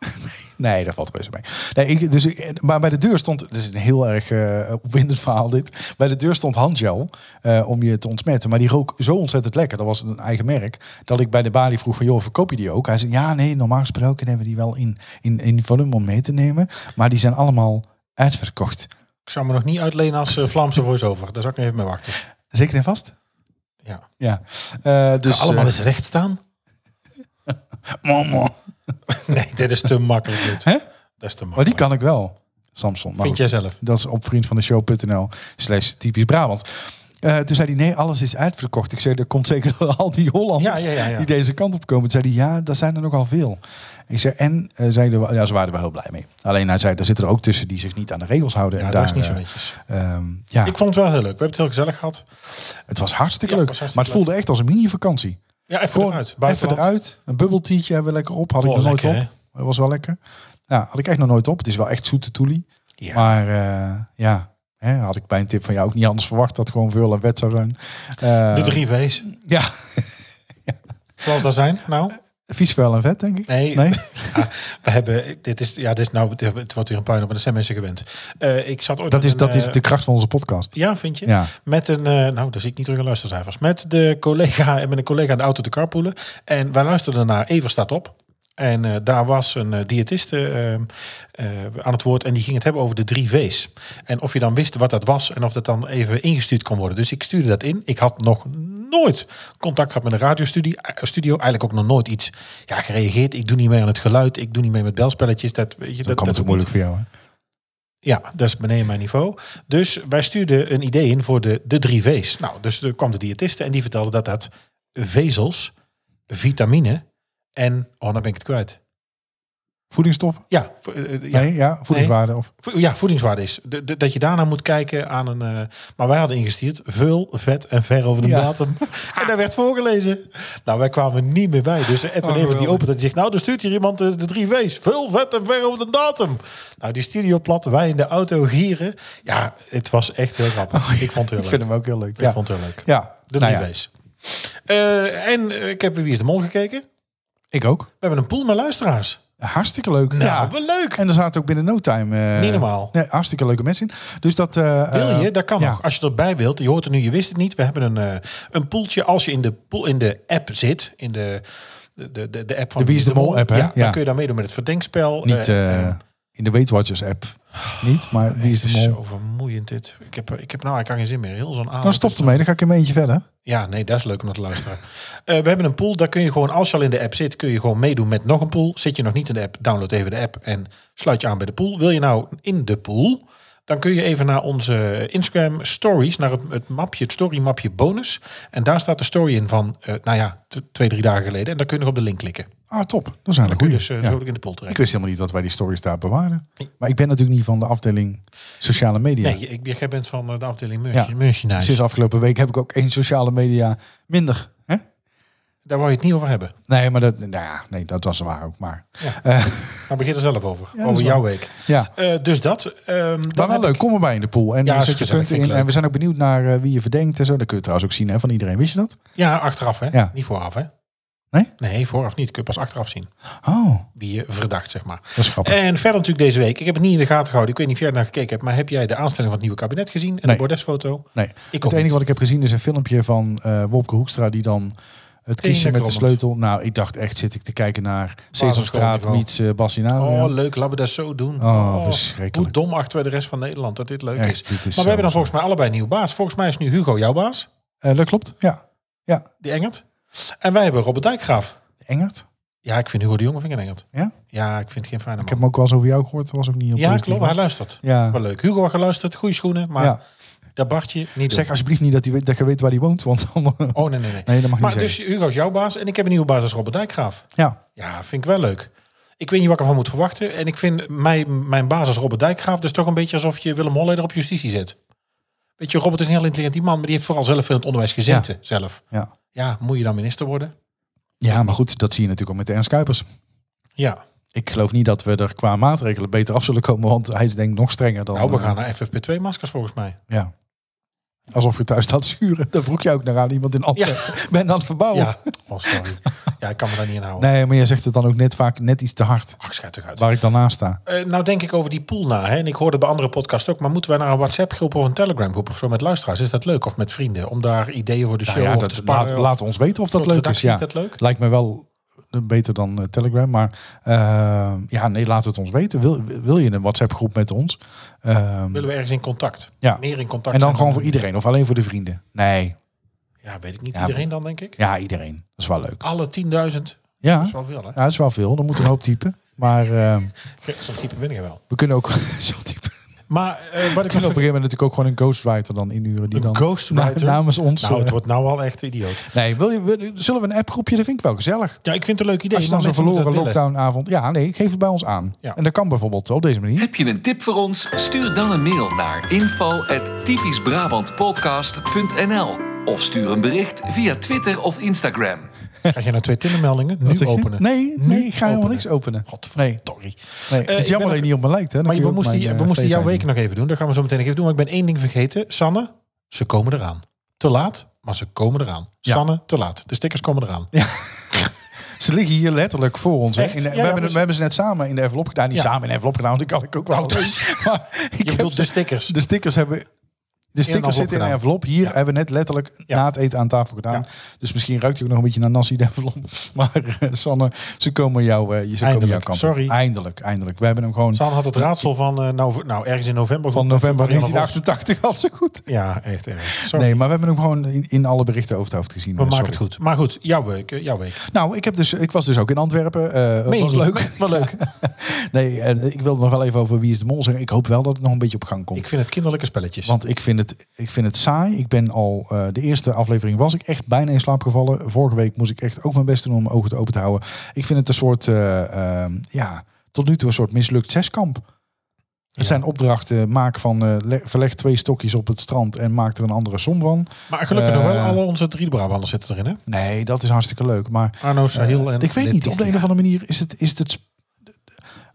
Speaker 4: Nee, daar valt reuze mee. Nee, ik, dus ik, maar bij de deur stond, dit is een heel erg eh opwindend verhaal dit. Bij de deur stond handgel eh, om je te ontsmetten. Maar die rook zo ontzettend lekker, dat was een eigen merk. Dat ik bij de balie vroeg van, joh, verkoop je die ook? Hij zei, ja, nee, normaal gesproken hebben we die wel in, in, in volume om mee te nemen. Maar die zijn allemaal uitverkocht.
Speaker 3: Ik zou me nog niet uitlenen als eh, Vlaamse voice-over. Daar zou ik nog even mee wachten.
Speaker 4: Zeker en vast?
Speaker 3: Ja.
Speaker 4: Ja. Eh, dus,
Speaker 3: Allemaal
Speaker 4: eh,
Speaker 3: eens recht staan?
Speaker 4: mama.
Speaker 3: Nee, dit is te makkelijk dit.
Speaker 4: Hè?
Speaker 3: Dat is te makkelijk.
Speaker 4: Maar oh, die kan ik wel, Samson. Maar
Speaker 3: Vind
Speaker 4: goed.
Speaker 3: jij zelf?
Speaker 4: Dat is op vriendvandeshow.nl slash typisch Brabant. Eh, toen zei hij, nee, alles is uitverkocht. Ik zei, dat komt zeker door al die Hollanders
Speaker 3: Ja, ja, ja, ja.
Speaker 4: die deze kant op komen. Toen zei hij, ja, daar zijn er nogal veel. Ik zei, en eh, zeiden we, ja, ze waren er wel heel blij mee. Alleen hij zei, er zitten er ook tussen die zich niet aan de regels houden.
Speaker 3: Ja,
Speaker 4: en
Speaker 3: dat is
Speaker 4: daar,
Speaker 3: niet zo
Speaker 4: eh,
Speaker 3: netjes.
Speaker 4: ehm, ja,
Speaker 3: Ik vond het wel heel leuk. We hebben het heel gezellig gehad.
Speaker 4: het was hartstikke
Speaker 3: Ja,
Speaker 4: leuk.
Speaker 3: het was hartstikke
Speaker 4: maar het voelde echt als een mini-vakantie.
Speaker 3: Ja, even
Speaker 4: Gewoon
Speaker 3: eruit.
Speaker 4: even
Speaker 3: buitenland.
Speaker 4: eruit. Een bubbeltietje hebben we lekker op. Had ik
Speaker 3: Oh,
Speaker 4: nog nooit
Speaker 3: lekker,
Speaker 4: op. Dat was wel lekker. Ja, had ik echt nog nooit op. Het is wel echt zoete toelie.
Speaker 3: Ja.
Speaker 4: Maar eh, ja, hè, had ik bij een tip van jou ook niet anders verwacht. Dat gewoon veel en wet zou zijn. Eh,
Speaker 3: De drie V's.
Speaker 4: Ja,
Speaker 3: Zoals dat zijn. Nou,
Speaker 4: vies, vuil en vet, denk ik.
Speaker 3: nee.
Speaker 4: Nee?
Speaker 3: Ja, we hebben, dit is, ja, dit is nou, het wordt weer een puin op, maar dat zijn mensen gewend. Eh, ik zat ooit
Speaker 4: Dat,
Speaker 3: met
Speaker 4: is,
Speaker 3: een,
Speaker 4: dat is
Speaker 3: eh,
Speaker 4: de kracht van onze podcast.
Speaker 3: Ja, vind je?
Speaker 4: Ja.
Speaker 3: Met een, eh, nou, daar zie ik niet terug in luistercijfers. Met de collega en met een collega in de auto te carpoolen. En wij luisterden naar Ever staat op. En eh, daar was een eh, diëtiste ehm, eh, aan het woord en die ging het hebben over de drie V's. En of je dan wist wat dat was en of dat dan even ingestuurd kon worden. Dus ik stuurde dat in. Ik had nog nooit contact gehad met een radiostudio. eh, Studio, eigenlijk ook nog nooit iets ja, gereageerd. Ik doe niet mee aan het geluid. Ik doe niet mee met belspelletjes. Dat, weet je,
Speaker 4: Dan
Speaker 3: dat
Speaker 4: kwam het
Speaker 3: dat-
Speaker 4: ook moeilijk voor jou. Hè?
Speaker 3: ja, dat is beneden mijn niveau. Dus wij stuurden een idee in voor de, de drie V's. Nou, dus er kwam de diëtiste en die vertelde dat dat vezels, vitamine en... Oh, dan ben ik het kwijt.
Speaker 4: Voedingsstoffen?
Speaker 3: Ja, vo- eh, eh, ja,
Speaker 4: Nee, ja, voedingswaarde. Of,
Speaker 3: vo- ja voedingswaarde is. De- de- dat je daarna moet kijken aan een... eh, maar wij hadden ingestuurd vul, vet en ver over de
Speaker 4: Ja.
Speaker 3: datum. En dat werd voorgelezen. Nou, wij kwamen niet meer bij. Dus Edwin
Speaker 4: Oh,
Speaker 3: Evert die
Speaker 4: geweldig.
Speaker 3: opent en die zegt... Nou, er stuurt hier iemand de, de drie V's. Vul, vet en ver over de datum. Nou, die studio plat, wij in de auto gieren. Ja, het was echt heel grappig. Ik vond het
Speaker 4: Oh, ik
Speaker 3: heel leuk.
Speaker 4: vind hem ook heel leuk.
Speaker 3: Ik
Speaker 4: Ja,
Speaker 3: vond het heel leuk.
Speaker 4: ja.
Speaker 3: De drie
Speaker 4: Nou ja,
Speaker 3: V's. Eh, en eh, ik heb weer Wie is de Mol gekeken.
Speaker 4: ik ook.
Speaker 3: We hebben een pool met luisteraars.
Speaker 4: Hartstikke leuk.
Speaker 3: Nou,
Speaker 4: ja.
Speaker 3: wat leuk.
Speaker 4: En er zaten ook binnen no time... eh,
Speaker 3: Niet normaal.
Speaker 4: Nee, hartstikke leuke mensen in. Dus dat... eh,
Speaker 3: Wil je?
Speaker 4: eh,
Speaker 3: Dat kan
Speaker 4: ja.
Speaker 3: nog. Ah, Als je erbij wilt. Je hoort het nu, je wist het niet. We hebben een, eh, een poeltje. Als je in de, pool, in de app zit, in de, de, de, de app van
Speaker 4: De Wie is de Mol app, hè?
Speaker 3: Ja,
Speaker 4: Ja.
Speaker 3: dan kun je daar meedoen met het verdenkspel.
Speaker 4: Niet eh, in de Weight Watchers app. Niet, maar wie is
Speaker 3: het is
Speaker 4: de
Speaker 3: zo
Speaker 4: mol?
Speaker 3: vermoeiend dit. Ik heb, ik heb nou eigenlijk geen zin meer. Heel zo'n avond.
Speaker 4: Nou, stop ermee. Dan ga ik in mijn eentje verder.
Speaker 3: Ja, nee, dat is leuk om naar te luisteren. Eh, we hebben een pool, daar kun je gewoon, als je al in de app zit, kun je gewoon meedoen met nog een pool. Zit je nog niet in de app, download even de app en sluit je aan bij de pool. Wil je nou in de pool, dan kun je even naar onze Instagram stories, naar het, het mapje, het story mapje bonus. En daar staat de story in van, eh, nou ja, t- twee, drie dagen geleden. En daar kun je nog op de link klikken.
Speaker 4: Ah, top. Dat zijn er
Speaker 3: Kun
Speaker 4: goeie.
Speaker 3: je dus eh,
Speaker 4: Ja.
Speaker 3: zo ook in de pool
Speaker 4: Ik
Speaker 3: terecht.
Speaker 4: wist helemaal niet dat wij die stories daar bewaren. Maar ik ben natuurlijk niet van de afdeling sociale media.
Speaker 3: Nee, ik, jij bent van eh, de afdeling merch-
Speaker 4: Ja.
Speaker 3: merchandise.
Speaker 4: Sinds afgelopen week heb ik ook één sociale media minder. Hè?
Speaker 3: Daar wou je het niet over hebben.
Speaker 4: Nee, maar dat, nou ja, nee, dat was waar ook. Maar
Speaker 3: Maar begin er zelf over.
Speaker 4: dat
Speaker 3: over
Speaker 4: is
Speaker 3: jouw
Speaker 4: waar.
Speaker 3: week.
Speaker 4: ja,
Speaker 3: Eh, dus dat. ehm, dan
Speaker 4: maar wel
Speaker 3: heb
Speaker 4: leuk. Kom erbij in de pool. En
Speaker 3: Ja,
Speaker 4: ja,
Speaker 3: is
Speaker 4: zet je
Speaker 3: gezellig.
Speaker 4: punten
Speaker 3: Vind ik
Speaker 4: in. En
Speaker 3: leuk.
Speaker 4: we zijn ook benieuwd naar eh, wie je verdenkt en zo. Dat kun je trouwens ook zien hè, van iedereen. Wist je dat?
Speaker 3: Ja, achteraf hè?
Speaker 4: Ja.
Speaker 3: Niet vooraf hè?
Speaker 4: Nee?
Speaker 3: Nee, vooraf niet. Kun je pas achteraf zien.
Speaker 4: Oh,
Speaker 3: Wie je verdacht, zeg maar.
Speaker 4: dat is grappig.
Speaker 3: En verder natuurlijk deze week. Ik heb het niet in de gaten gehouden. Ik weet niet of jij naar gekeken hebt. Maar heb jij de aanstelling van het nieuwe kabinet gezien? En
Speaker 4: Nee. Oh,
Speaker 3: de bordesfoto?
Speaker 4: Nee.
Speaker 3: Ik ook
Speaker 4: het enige
Speaker 3: niet.
Speaker 4: wat ik heb gezien is een filmpje van eh Wopke Hoekstra die dan Het kistje met de
Speaker 3: Tenenkrommend.
Speaker 4: sleutel. Nou, ik dacht echt, zit ik te kijken naar Sesamstraat
Speaker 3: Basisschoolniveau.
Speaker 4: meets eh Bassinaria.
Speaker 3: Oh, leuk. Laten we dat zo doen.
Speaker 4: Oh, verschrikkelijk.
Speaker 3: Hoe dom achten wij de rest van Nederland dat dit leuk
Speaker 4: Echt,
Speaker 3: is.
Speaker 4: dit
Speaker 3: Maar
Speaker 4: is
Speaker 3: we
Speaker 4: zo
Speaker 3: hebben dan
Speaker 4: zo.
Speaker 3: volgens mij allebei een nieuw baas. Volgens mij is nu Hugo jouw baas,
Speaker 4: Eh, dat klopt, ja. Ja,
Speaker 3: die Engert. En wij hebben Robert Dijkgraaf.
Speaker 4: Engert.
Speaker 3: Ja, ik vind Hugo de Jonge vind ik een Engert.
Speaker 4: Ja?
Speaker 3: Ja, ik vind geen fijne man.
Speaker 4: Ik heb hem ook wel eens over jou gehoord. Dat was ook niet heel
Speaker 3: ja,
Speaker 4: positief,
Speaker 3: klopt. Hij
Speaker 4: hoor.
Speaker 3: luistert.
Speaker 4: Ja.
Speaker 3: Wel leuk. Hugo had geluisterd. Goede schoenen. Maar
Speaker 4: ja.
Speaker 3: dat Bartje niet
Speaker 4: Zeg
Speaker 3: zeggen.
Speaker 4: alsjeblieft niet dat, hij weet, dat je weet waar hij woont. Want dan, eh,
Speaker 3: Oh, nee, nee, nee.
Speaker 4: nee, dat mag
Speaker 3: maar
Speaker 4: niet
Speaker 3: dus
Speaker 4: dus,
Speaker 3: Hugo is jouw baas. En ik heb een nieuwe baas als Robert Dijkgraaf.
Speaker 4: Ja,
Speaker 3: Ja, vind ik wel leuk. Ik weet niet wat ik ervan moet verwachten. En ik vind mij, mijn baas als Robert Dijkgraaf dus toch een beetje alsof je Willem Holleder op justitie zet. Weet je, Robert is een heel intelligent man, maar die heeft vooral zelf in het onderwijs gezeten. Zelf.
Speaker 4: ja.
Speaker 3: Ja, moet je dan minister worden?
Speaker 4: ja, maar goed, dat zie je natuurlijk ook met Ernst Kuipers.
Speaker 3: Ja. Nou,
Speaker 4: Ik geloof niet dat we er qua maatregelen beter af zullen komen. Want hij is denk ik nog strenger dan...
Speaker 3: Nou, we
Speaker 4: eh,
Speaker 3: gaan naar FFP2-maskers volgens mij.
Speaker 4: Ja. Alsof je thuis staat schuren. Daar vroeg je ook naar aan iemand in Antwerpen. Ben aan het verbouwen.
Speaker 3: Ja. Oh, sorry. Ja, ik kan me daar niet in houden.
Speaker 4: Nee, maar jij zegt het dan ook net vaak net iets te hard.
Speaker 3: Ach, schijt toch uit.
Speaker 4: Waar ik dan naast sta.
Speaker 3: Eh, nou denk ik over die pool na. Hè? En ik hoorde bij andere podcasts ook. Maar moeten wij naar een WhatsApp-groep of een Telegram-groep of zo met luisteraars? Is dat leuk? Of met vrienden? Om daar ideeën voor de show
Speaker 4: Nou ja,
Speaker 3: of te
Speaker 4: dat,
Speaker 3: sparren?
Speaker 4: laat,
Speaker 3: of-
Speaker 4: laat ons weten of dat
Speaker 3: Tot
Speaker 4: leuk is.
Speaker 3: redactie,
Speaker 4: Ja.
Speaker 3: is dat leuk?
Speaker 4: Lijkt me wel eh, beter dan eh, Telegram. Maar eh, ja, nee, laat het ons weten. Wil, wil je een WhatsApp groep met ons? Ehm,
Speaker 3: Willen we ergens in contact?
Speaker 4: Ja.
Speaker 3: Meer in contact.
Speaker 4: en dan
Speaker 3: zijn
Speaker 4: gewoon voor iedereen of alleen voor de vrienden? Nee,
Speaker 3: Ja, weet ik niet.
Speaker 4: Ja,
Speaker 3: iedereen dan, denk ik.
Speaker 4: ja, iedereen. Dat is wel leuk.
Speaker 3: Alle 10.000. Dat
Speaker 4: Ja,
Speaker 3: is wel veel, hè?
Speaker 4: ja, dat is wel veel. Dan moet een hoop typen. Maar eh,
Speaker 3: Zo'n type ben ik er wel.
Speaker 4: we kunnen ook zo typen.
Speaker 3: Maar eh, wat
Speaker 4: We
Speaker 3: ik
Speaker 4: kunnen
Speaker 3: nog...
Speaker 4: op een gegeven moment natuurlijk ook gewoon een ghostwriter dan inhuren. Die dan
Speaker 3: Een ghostwriter?
Speaker 4: na- namens ons.
Speaker 3: Nou, het
Speaker 4: eh,
Speaker 3: wordt nou al echt idioot.
Speaker 4: Nee, wil je, wil- zullen we een appgroepje? Dat vind ik wel gezellig.
Speaker 3: Ja, ik vind het een leuk idee.
Speaker 4: Als je dan
Speaker 3: maar
Speaker 4: zo'n
Speaker 3: mensen moeten
Speaker 4: verloren
Speaker 3: dat willen.
Speaker 4: lockdownavond... Ja, nee, geef het bij ons aan.
Speaker 3: Ja.
Speaker 4: En dat kan bijvoorbeeld op deze manier.
Speaker 1: Heb je een tip voor ons? Stuur dan een mail naar info@typischbrabantpodcast.nl of stuur een bericht via Twitter of Instagram.
Speaker 3: Krijg je nou twee Tinder-meldingen?
Speaker 4: Wat
Speaker 3: Nu
Speaker 4: zeg je?
Speaker 3: openen.
Speaker 4: Nee, nee, ik ga helemaal niks openen. Nee,
Speaker 3: Sorry. Eh,
Speaker 4: nee.
Speaker 3: ik
Speaker 4: het is
Speaker 3: ben
Speaker 4: jammer dat je
Speaker 3: nog-
Speaker 4: niet op me lijkt. Hè? Dan
Speaker 3: Maar
Speaker 4: kun
Speaker 3: we
Speaker 4: je ook
Speaker 3: moesten,
Speaker 4: mijn,
Speaker 3: we
Speaker 4: eh,
Speaker 3: moesten jouw
Speaker 4: Face
Speaker 3: weken
Speaker 4: ID.
Speaker 3: nog even doen. Dat gaan we zo meteen nog even doen. Maar ik ben één ding vergeten. Sanne, ze komen eraan. Te laat, maar ze komen eraan.
Speaker 4: Ja.
Speaker 3: Sanne, te laat. De stickers komen eraan.
Speaker 4: Ze liggen hier letterlijk voor ons. Hè?
Speaker 3: Echt?
Speaker 4: In de-
Speaker 3: Ja,
Speaker 4: we,
Speaker 3: ja,
Speaker 4: hebben,
Speaker 3: dus-
Speaker 4: we hebben ze net samen in de envelop gedaan. Niet
Speaker 3: Ja.
Speaker 4: samen in de envelop gedaan, want die kan ik ook wel. Maar ik heb
Speaker 3: bedoelt de
Speaker 4: ze-
Speaker 3: stickers.
Speaker 4: De stickers hebben... De
Speaker 3: envelop
Speaker 4: stickers zitten in een
Speaker 3: gedaan.
Speaker 4: envelop. Hier hebben we net letterlijk
Speaker 3: Ja.
Speaker 4: na het eten aan tafel gedaan.
Speaker 3: Ja.
Speaker 4: Dus misschien ruikt hij ook nog een beetje naar nasi de envelop. Maar eh, Sanne, ze komen jou, eh, ze komen jouw
Speaker 3: Eindelijk,
Speaker 4: kant op.
Speaker 3: sorry.
Speaker 4: Eindelijk, eindelijk. We hebben hem gewoon...
Speaker 3: Sanne had het raadsel van, eh, nou, nou ergens in november.
Speaker 4: Van november
Speaker 3: Marianne
Speaker 4: 1988 had ze goed.
Speaker 3: Vos. Ja, echt erg. Sorry.
Speaker 4: Nee, maar we hebben hem gewoon in, in alle berichten over het hoofd gezien.
Speaker 3: we
Speaker 4: eh,
Speaker 3: maken het
Speaker 4: sorry.
Speaker 3: goed. Maar goed, jouw week. eh, Jouw week.
Speaker 4: Nou, ik, heb dus, ik was dus ook in Antwerpen. eh
Speaker 3: Meen je
Speaker 4: was
Speaker 3: niet?
Speaker 4: leuk.
Speaker 3: Wel leuk.
Speaker 4: Nee, en ik wilde nog wel even over Wie is de Mol zeggen. Ik hoop wel dat het nog een beetje op gang komt.
Speaker 3: Ik vind het kinderlijke spelletjes.
Speaker 4: Want ik vind, het, ik vind het saai. Ik ben al, eh, de eerste aflevering was ik echt bijna in slaap gevallen. Vorige week moest ik echt ook mijn best doen om mijn ogen te open te houden. Ik vind het een soort, eh, ehm, ja, tot nu toe een soort mislukt zeskamp. Het
Speaker 3: Ja.
Speaker 4: zijn opdrachten, maak van, eh, le- verleg twee stokjes op het strand en maak er een andere som van.
Speaker 3: maar gelukkig nog
Speaker 4: eh,
Speaker 3: wel, alle onze drie Brabanders zitten erin, hè?
Speaker 4: Nee, dat is hartstikke leuk. Maar
Speaker 3: Arno, Sahil en...
Speaker 4: Eh, ik weet niet, op de een of andere manier is het... Is het, het,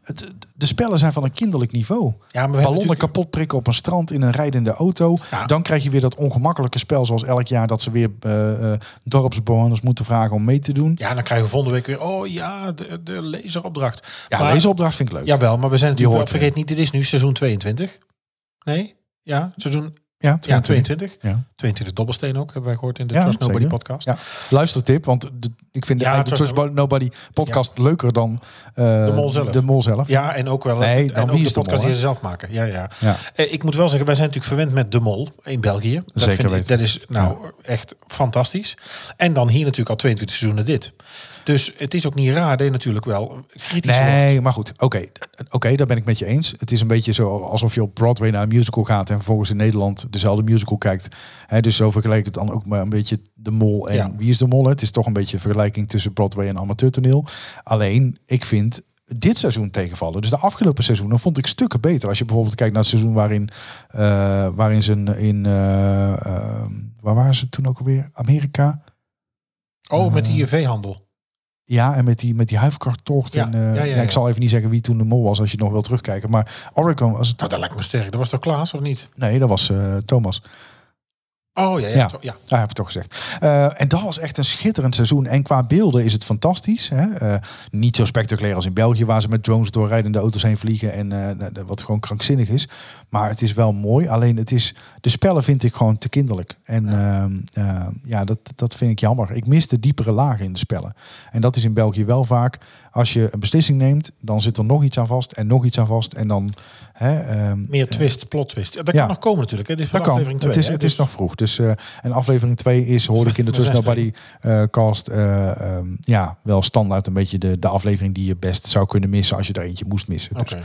Speaker 4: het- de spellen zijn van een kinderlijk niveau.
Speaker 3: Ja, maar we hebben
Speaker 4: Ballonnen
Speaker 3: natuurlijk-
Speaker 4: kapot prikken op een strand in een rijdende auto.
Speaker 3: Ja.
Speaker 4: Dan krijg je weer dat ongemakkelijke spel zoals elk jaar dat ze weer eh, eh, dorpsbewoners moeten vragen om mee te doen.
Speaker 3: Ja, dan krijgen we volgende week weer... Oh ja, de, de laseropdracht.
Speaker 4: Ja,
Speaker 3: Maar-
Speaker 4: deze opdracht vind ik leuk.
Speaker 3: Jawel, maar we zijn natuurlijk wel,
Speaker 4: hoort
Speaker 3: vergeet niet, dit is nu seizoen 22. Nee? Ja, seizoen
Speaker 4: ja,
Speaker 3: ja,
Speaker 4: 22.
Speaker 3: 22.
Speaker 4: Ja.
Speaker 3: 22 dobbelsteen ook, hebben wij gehoord in de
Speaker 4: Ja,
Speaker 3: Trust Nobody
Speaker 4: zeker.
Speaker 3: podcast.
Speaker 4: Ja. Luistertip, want de- ik vind de,
Speaker 3: Ja,
Speaker 4: eigenlijk de
Speaker 3: Trust
Speaker 4: Trust Bo- Nobody podcast leuker dan eh,
Speaker 3: De Mol zelf.
Speaker 4: De mol zelf.
Speaker 3: Ja, en ook wel
Speaker 4: Nee,
Speaker 3: en
Speaker 4: dan
Speaker 3: ook
Speaker 4: Wie
Speaker 3: de
Speaker 4: is de
Speaker 3: podcast
Speaker 4: Mol,
Speaker 3: die
Speaker 4: hè?
Speaker 3: ze zelf maken. Ja, ja.
Speaker 4: Ja.
Speaker 3: Eh, ik moet wel zeggen, wij zijn natuurlijk verwend met De Mol in België. Dat
Speaker 4: Zeker
Speaker 3: vind ik,
Speaker 4: weten.
Speaker 3: Dat is nou echt fantastisch. En dan hier natuurlijk al 22 seizoenen dit. Dus het is ook niet raar dat je natuurlijk wel kritisch wordt.
Speaker 4: Nee, maar goed. Oké, oké, daar ben ik met je eens. Het is een beetje zo alsof je op Broadway naar een musical gaat en vervolgens in Nederland dezelfde musical kijkt. Hè, dus zo vergelijk ik het dan ook maar een beetje de mol en
Speaker 3: Ja.
Speaker 4: wie is de mol. hè. Het is toch een beetje een vergelijking tussen Broadway en amateurtoneel. Alleen, ik vind dit seizoen tegenvallen. Dus de afgelopen seizoenen vond ik stukken beter. Als je bijvoorbeeld kijkt naar het seizoen waarin, eh, waarin ze in, in eh, eh, waar waren ze toen ook alweer? Amerika.
Speaker 3: Oh, met die IV-handel.
Speaker 4: Ja, en met die, met die huifkarttocht.
Speaker 3: Ja,
Speaker 4: En, eh,
Speaker 3: ja, ja,
Speaker 4: ja,
Speaker 3: ja.
Speaker 4: ik zal even niet zeggen wie toen de mol was, als je het nog wil terugkijken. Maar Oricon was het...
Speaker 3: Nou, dat lijkt me sterk. Dat was toch Klaas, of niet?
Speaker 4: Nee, dat was eh, Thomas.
Speaker 3: Oh ja, ja.
Speaker 4: Ja,
Speaker 3: zo- ja.
Speaker 4: dat heb ik toch gezegd. Eh, en dat was echt een schitterend seizoen. En qua beelden is het fantastisch. Hè? Eh, niet zo spectaculair als in België, waar ze met drones door rijdende auto's heen vliegen. En eh, nou, dat- wat gewoon krankzinnig is. Maar het is wel mooi. Alleen het is, de spellen vind ik gewoon te kinderlijk. En ehm, eh, ja, dat, dat vind ik jammer. Ik mis de diepere lagen in de spellen. En dat is in België wel vaak. Als je een beslissing neemt, dan zit er nog iets aan vast. En nog iets aan vast. En dan. Hè, ehm,
Speaker 3: Meer twist, plot twist. Ja, dat
Speaker 4: Ja.
Speaker 3: kan nog komen natuurlijk. Hè. Dit is van
Speaker 4: dat kan.
Speaker 3: aflevering 2.
Speaker 4: het is, het is nog vroeg. Dus, eh, en aflevering 2 is, hoorde ik in de
Speaker 3: Met zes
Speaker 4: Tussennobody eh cast, eh, ehm, ja, wel standaard een beetje de, de aflevering die je best zou kunnen missen als je er eentje moest missen. Dus,
Speaker 3: Oké.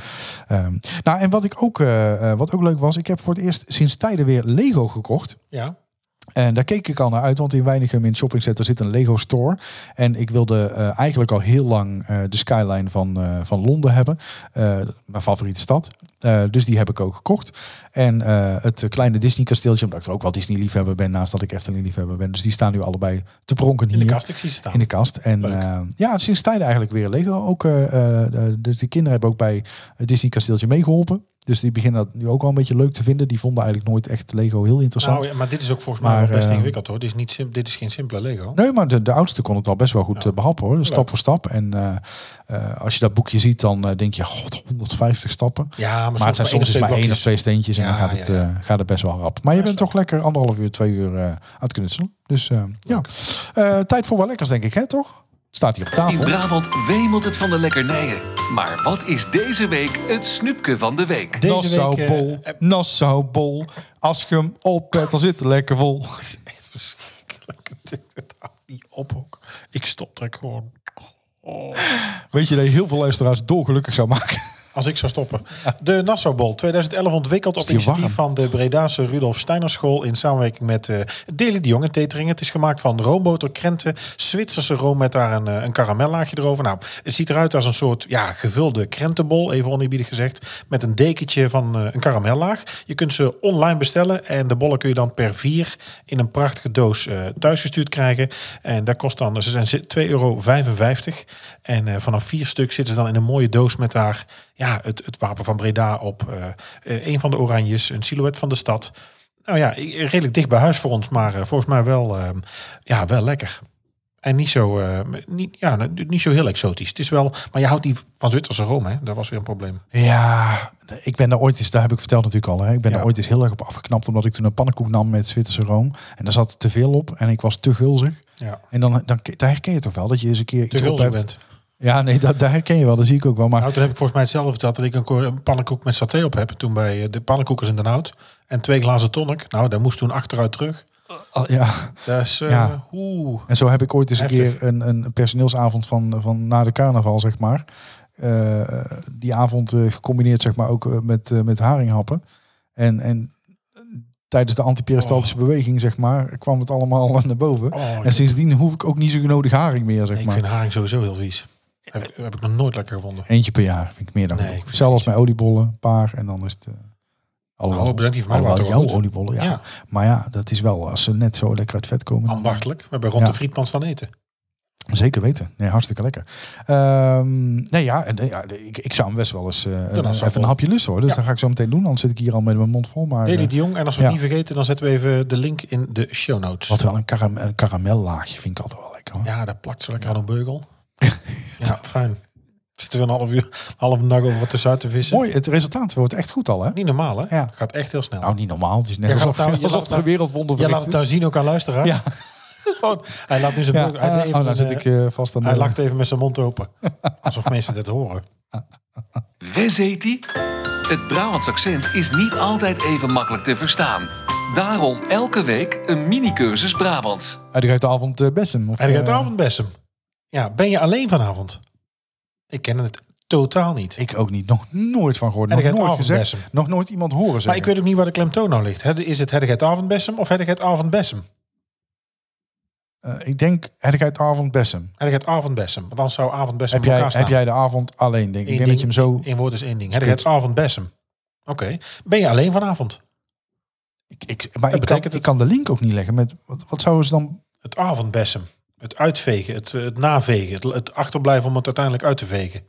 Speaker 4: ehm, nou, en wat, ik ook, eh, eh, wat ook leuk was, ik heb voor het eerst sinds tijden weer Lego gekocht.
Speaker 3: Ja.
Speaker 4: En daar keek ik al naar uit, want in Weinigem in shoppingcenter zit een Lego store. En ik wilde eh, eigenlijk al heel lang eh, de skyline van, eh, van Londen hebben. Eh, mijn favoriete stad. Eh, dus die heb ik ook gekocht. En eh, het kleine Disney kasteeltje, omdat ik er ook wel Disney liefhebber ben, naast dat ik Efteling liefhebber ben. Dus die staan nu allebei te pronken hier.
Speaker 3: In de kast, ik zie ze staan.
Speaker 4: In de kast. En
Speaker 3: Leuk.
Speaker 4: eh, ja, sinds tijden eigenlijk weer Lego. Ook, eh eh, de- dus de kinderen hebben ook bij het Disney kasteeltje meegeholpen. Dus die beginnen dat nu ook wel een beetje leuk te vinden. Die vonden eigenlijk nooit echt Lego heel interessant.
Speaker 3: Nou, ja, maar dit is ook volgens mij
Speaker 4: Maar,
Speaker 3: wel best
Speaker 4: eh,
Speaker 3: ingewikkeld hoor. Dit is, niet sim- dit is geen simpele Lego.
Speaker 4: Nee, maar de, de oudste kon het al best wel goed eh, behappen hoor. Stap voor stap. En eh, eh, als je dat boekje ziet, dan eh, denk je, god, 150 stappen.
Speaker 3: Ja, maar,
Speaker 4: Maar het zijn soms is maar één of twee steentjes en
Speaker 3: Ja,
Speaker 4: dan gaat het,
Speaker 3: ja, ja.
Speaker 4: eh, gaat het best wel rap. Maar je
Speaker 3: Ja,
Speaker 4: bent
Speaker 3: is
Speaker 4: toch lekker anderhalf uur, twee uur eh, aan het knutselen. Dus eh, ja, Eh, tijd voor wel lekkers denk ik, hè toch? Het staat hier op
Speaker 1: In
Speaker 4: tafel.
Speaker 1: Brabant wemelt het van de lekkernijen. Maar wat is deze week het snoepje van de week?
Speaker 4: Nassau
Speaker 3: eh,
Speaker 4: bol,
Speaker 3: eh,
Speaker 4: Nassau bol. Als je hem oppet, dan zit het lekker vol.
Speaker 3: Het is echt verschrikkelijk. Het houdt niet op ook. Ik stop er gewoon.
Speaker 4: Weet je dat je heel veel luisteraars dolgelukkig zou maken?
Speaker 3: Als ik zou stoppen. De Nassau Bowl 2011 ontwikkeld op
Speaker 4: die
Speaker 3: initiatief
Speaker 4: warm?
Speaker 3: van de Bredaanse Rudolf Steiner School in samenwerking met eh Deli de Jong en Tetering. Het is gemaakt van roomboter, krenten, Zwitserse room met daar een, eh, een karamellaagje erover. Nou, het ziet eruit als een soort ja, gevulde krentenbol, even oneerbiedig gezegd, met een dekentje van eh, een karamellaag. Je kunt ze online bestellen en de bollen kun je dan per vier in een prachtige doos eh, thuisgestuurd krijgen. En dat kost dan, ze zijn 2,55 euro. En eh, vanaf vier stuk zitten ze dan in een mooie doos met daar ja, het, het wapen van Breda op. eh, eh, een van de oranjes, een silhouet van de stad. Nou ja, i- redelijk dicht bij huis voor ons, maar eh, volgens mij wel, ehm, ja, wel lekker. En niet zo, eh, niet, ja, nou, niet zo heel exotisch. Het is wel, maar je houdt niet van Zwitserse room, hè? Dat was weer een probleem.
Speaker 4: Ja, ik ben daar ooit eens, daar heb ik verteld natuurlijk al. Hè. Ik ben
Speaker 3: Ja.
Speaker 4: daar ooit eens heel erg op afgeknapt, omdat ik toen een pannenkoek nam met Zwitserse room. En daar zat te veel op en ik was te gulzig.
Speaker 3: Ja.
Speaker 4: En dan, dan daar herken je toch wel dat je eens een keer
Speaker 3: Te
Speaker 4: iets op
Speaker 3: gulzig
Speaker 4: hebt.
Speaker 3: bent.
Speaker 4: Ja, nee, dat, daar herken je wel, dat zie ik ook wel. Maar
Speaker 3: Nou, toen heb ik volgens mij hetzelfde verteld dat ik een, ko- een pannenkoek met saté op heb. Toen bij eh, de pannenkoekers in Den Hout. En twee glazen tonic. Nou, daar moest toen achteruit terug.
Speaker 4: al- ja,
Speaker 3: Dat is, eh,
Speaker 4: Ja.
Speaker 3: oeh.
Speaker 4: en zo heb ik ooit eens een
Speaker 3: Heftig.
Speaker 4: keer een, een personeelsavond van, van na de carnaval, zeg maar. eh, die avond eh, gecombineerd, zeg maar, ook eh, met, eh, met haringhappen. En, en tijdens de antiperistaltische beweging, zeg maar, kwam het allemaal naar boven.
Speaker 3: Oh, joh.
Speaker 4: En sindsdien hoef ik ook niet zo nodig haring meer, zeg
Speaker 3: Nee, ik
Speaker 4: maar.
Speaker 3: vind haring sowieso heel vies. Heb, ik- heb ik nog nooit lekker gevonden.
Speaker 4: Eentje per jaar vind ik meer dan
Speaker 3: Nee,
Speaker 4: genoeg.
Speaker 3: ik vind
Speaker 4: Zelfs
Speaker 3: het Oh,
Speaker 4: met oliebollen, een paar en dan is het... eh alhoewel,
Speaker 3: Hallo, bedankt die van mij
Speaker 4: alhoewel
Speaker 3: waren toch
Speaker 4: Oh, jouw
Speaker 3: wel goed.
Speaker 4: oliebollen, ja.
Speaker 3: Ja.
Speaker 4: Maar ja, dat is wel als ze net zo lekker uit vet komen. dan-
Speaker 3: Ambachtelijk. We hebben rond
Speaker 4: Ja.
Speaker 3: de frietpan staan eten.
Speaker 4: Zeker weten. Nee, hartstikke lekker. Ehm, nee, ja, en, eh, ja ik, ik zou hem best wel eens eh,
Speaker 3: dan
Speaker 4: even
Speaker 3: zou ik
Speaker 4: een
Speaker 3: wel-
Speaker 4: hapje lusten hoor. Dus
Speaker 3: Ja.
Speaker 4: dat ga ik zo meteen doen, anders zit ik hier al met mijn mond vol. Maar
Speaker 3: Deli
Speaker 4: eh,
Speaker 3: de Jong. En als we het
Speaker 4: ja.
Speaker 3: niet vergeten, dan zetten we even de link in de show notes.
Speaker 4: wat wel een, karam een karamellaagje vind ik altijd wel lekker. Hoor.
Speaker 3: Ja, dat plakt ze lekker aan een beugel. ja, fijn. Zitten we een half uur, een half dag over wat tussen uit te vissen.
Speaker 4: Mooi, het resultaat wordt echt goed al hè?
Speaker 3: Niet normaal, hè?
Speaker 4: Ja.
Speaker 3: Gaat echt heel snel.
Speaker 4: Nou, niet normaal. Het is net
Speaker 3: Jij gaat
Speaker 4: alsof,
Speaker 3: het nou- je laat
Speaker 4: alsof er
Speaker 3: het
Speaker 4: een
Speaker 3: nou-
Speaker 4: wereldwonder
Speaker 3: Jij
Speaker 4: verricht
Speaker 3: laat het nou zien ook aan luisteraar.
Speaker 4: Ja.
Speaker 3: Gewoon, hij laat nu zijn
Speaker 4: Ja,
Speaker 3: mond- hij, deed
Speaker 4: eh,
Speaker 3: even
Speaker 4: oh, dan
Speaker 3: een,
Speaker 4: zit
Speaker 3: eh,
Speaker 4: ik eh, vast aan
Speaker 3: hij
Speaker 4: de-
Speaker 3: lacht even met zijn mond open. Alsof mensen dit horen.
Speaker 1: Wes heet die? Het Brabants accent is niet altijd even makkelijk te verstaan. Daarom elke week een mini-cursus Brabants.
Speaker 4: Hij gaat de avond eh, bessen. Of,
Speaker 3: En ik heb de
Speaker 4: eh,
Speaker 3: avond best hem. Ja, ben je alleen vanavond? Ik ken het totaal niet.
Speaker 4: Ik ook niet. Nog nooit van gehoord.
Speaker 3: En
Speaker 4: Nog
Speaker 3: ik heb
Speaker 4: nooit
Speaker 3: avondbessen.
Speaker 4: gezegd. Nog nooit iemand horen zeggen.
Speaker 3: maar ik weet ook niet waar de klemtoon nou ligt. Hè, Is het Heddergeit Avondbessem of Heddergeit Avondbessem?
Speaker 4: Eh, ik denk, heb ik uit avond bessen.
Speaker 3: Heddergeit Avondbessem. Want anders zou Avondbessem
Speaker 4: Heb
Speaker 3: op
Speaker 4: jij,
Speaker 3: elkaar
Speaker 4: heb
Speaker 3: staan.
Speaker 4: jij de avond alleen? Denk. Ik denk dat je hem zo...
Speaker 3: Eén woord is één ding. Heddergeit Avondbessem. Oké. Ben je alleen vanavond?
Speaker 4: Ik, ik, maar ik kan,
Speaker 3: betekent
Speaker 4: ik
Speaker 3: het-
Speaker 4: kan de link ook niet leggen. Met, wat, wat zouden ze dan...
Speaker 3: Het avondbessen. Het uitvegen, het, eh, het navegen, het, het achterblijven om het uiteindelijk uit te vegen.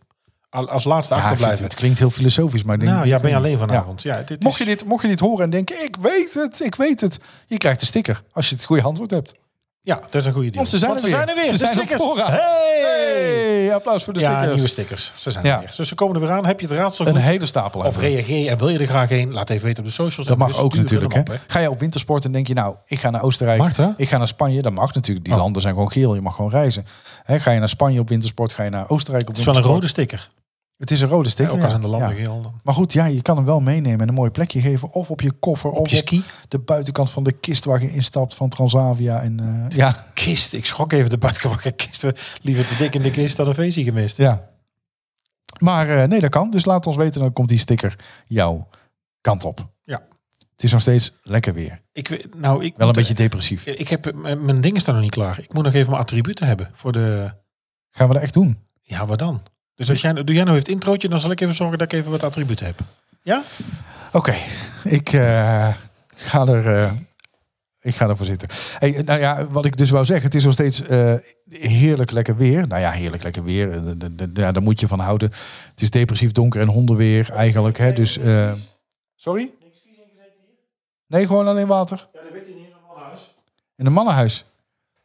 Speaker 3: al- als laatste
Speaker 4: Ja, ik vind-
Speaker 3: achterblijven.
Speaker 4: het klinkt heel filosofisch, maar ik denk,
Speaker 3: Nou ja, ben je alleen vanavond. Ja. dit
Speaker 4: Mocht, je
Speaker 3: is-
Speaker 4: dit, mocht je dit horen en denken, ik weet het, ik weet het. Je krijgt een sticker als je het goede antwoord hebt.
Speaker 3: ja, dat is een goede deal.
Speaker 4: Want ze zijn, er, weer. Ze
Speaker 3: de
Speaker 4: zijn op
Speaker 3: stickers.
Speaker 4: voorraad.
Speaker 3: Hey!
Speaker 4: Hey, applaus voor de
Speaker 3: Ja,
Speaker 4: stickers.
Speaker 3: nieuwe stickers. Ze zijn
Speaker 4: Ja.
Speaker 3: er weer. Dus ze komen er weer aan. Heb je het raadsel
Speaker 4: Een
Speaker 3: goed?
Speaker 4: hele stapel.
Speaker 3: Of
Speaker 4: eigenlijk.
Speaker 3: reageer en wil je er graag heen? Laat even weten op de socials.
Speaker 4: Dat
Speaker 3: En
Speaker 4: mag
Speaker 3: we
Speaker 4: ook
Speaker 3: sturen
Speaker 4: natuurlijk.
Speaker 3: hem
Speaker 4: Hè?
Speaker 3: op, hè.
Speaker 4: Ga je op wintersport en denk je, nou, ik ga naar Oostenrijk.
Speaker 3: Mag dat?
Speaker 4: Ik ga naar Spanje. Dat mag natuurlijk. Die
Speaker 3: Oh.
Speaker 4: landen zijn gewoon geel. Je mag gewoon reizen. Hè, ga je naar Spanje op wintersport, ga je naar Oostenrijk op
Speaker 3: Het is wel een
Speaker 4: wintersport.
Speaker 3: rode sticker.
Speaker 4: Het is een rode
Speaker 3: Ja,
Speaker 4: sticker.
Speaker 3: ook al zijn de landen
Speaker 4: ja.
Speaker 3: geel. dan.
Speaker 4: Maar goed, ja, je kan hem wel meenemen en een mooi plekje geven. Of op je koffer.
Speaker 3: Op
Speaker 4: of
Speaker 3: je ski.
Speaker 4: op de buitenkant van de kist waar je instapt van Transavia. En, eh, ja,
Speaker 3: Kist. Ik schrok even de buitengewakke kist. Liever te dik in de kist dan een feestje gemist.
Speaker 4: ja. Maar eh, nee, dat kan. Dus laat ons weten. Dan komt die sticker jouw kant op.
Speaker 3: Ja.
Speaker 4: Het is nog steeds lekker weer.
Speaker 3: Ik, weet- nou, ik
Speaker 4: Wel een
Speaker 3: moet-
Speaker 4: beetje depressief.
Speaker 3: Ik heb, m- mijn ding is daar nog niet klaar. Ik moet nog even mijn attributen hebben voor de...
Speaker 4: Gaan we dat echt doen?
Speaker 3: Ja, wat dan? Dus als jij, doe jij nou even het introotje, dan zal ik even zorgen dat ik even wat attributen heb. Ja?
Speaker 4: Oké, ik, eh, ga er, eh, ik ga ervoor zitten. Hey, nou ja, wat ik dus wou zeggen, het is nog steeds eh, heerlijk lekker weer. Nou ja, heerlijk lekker weer, eh, d- d- d- ja, daar moet je van houden. Het is depressief donker en hondenweer eigenlijk. Hè, dus, eh, sorry? Nee, gewoon alleen water.
Speaker 3: Ja, dat weet je niet van huis.
Speaker 4: In een mannenhuis.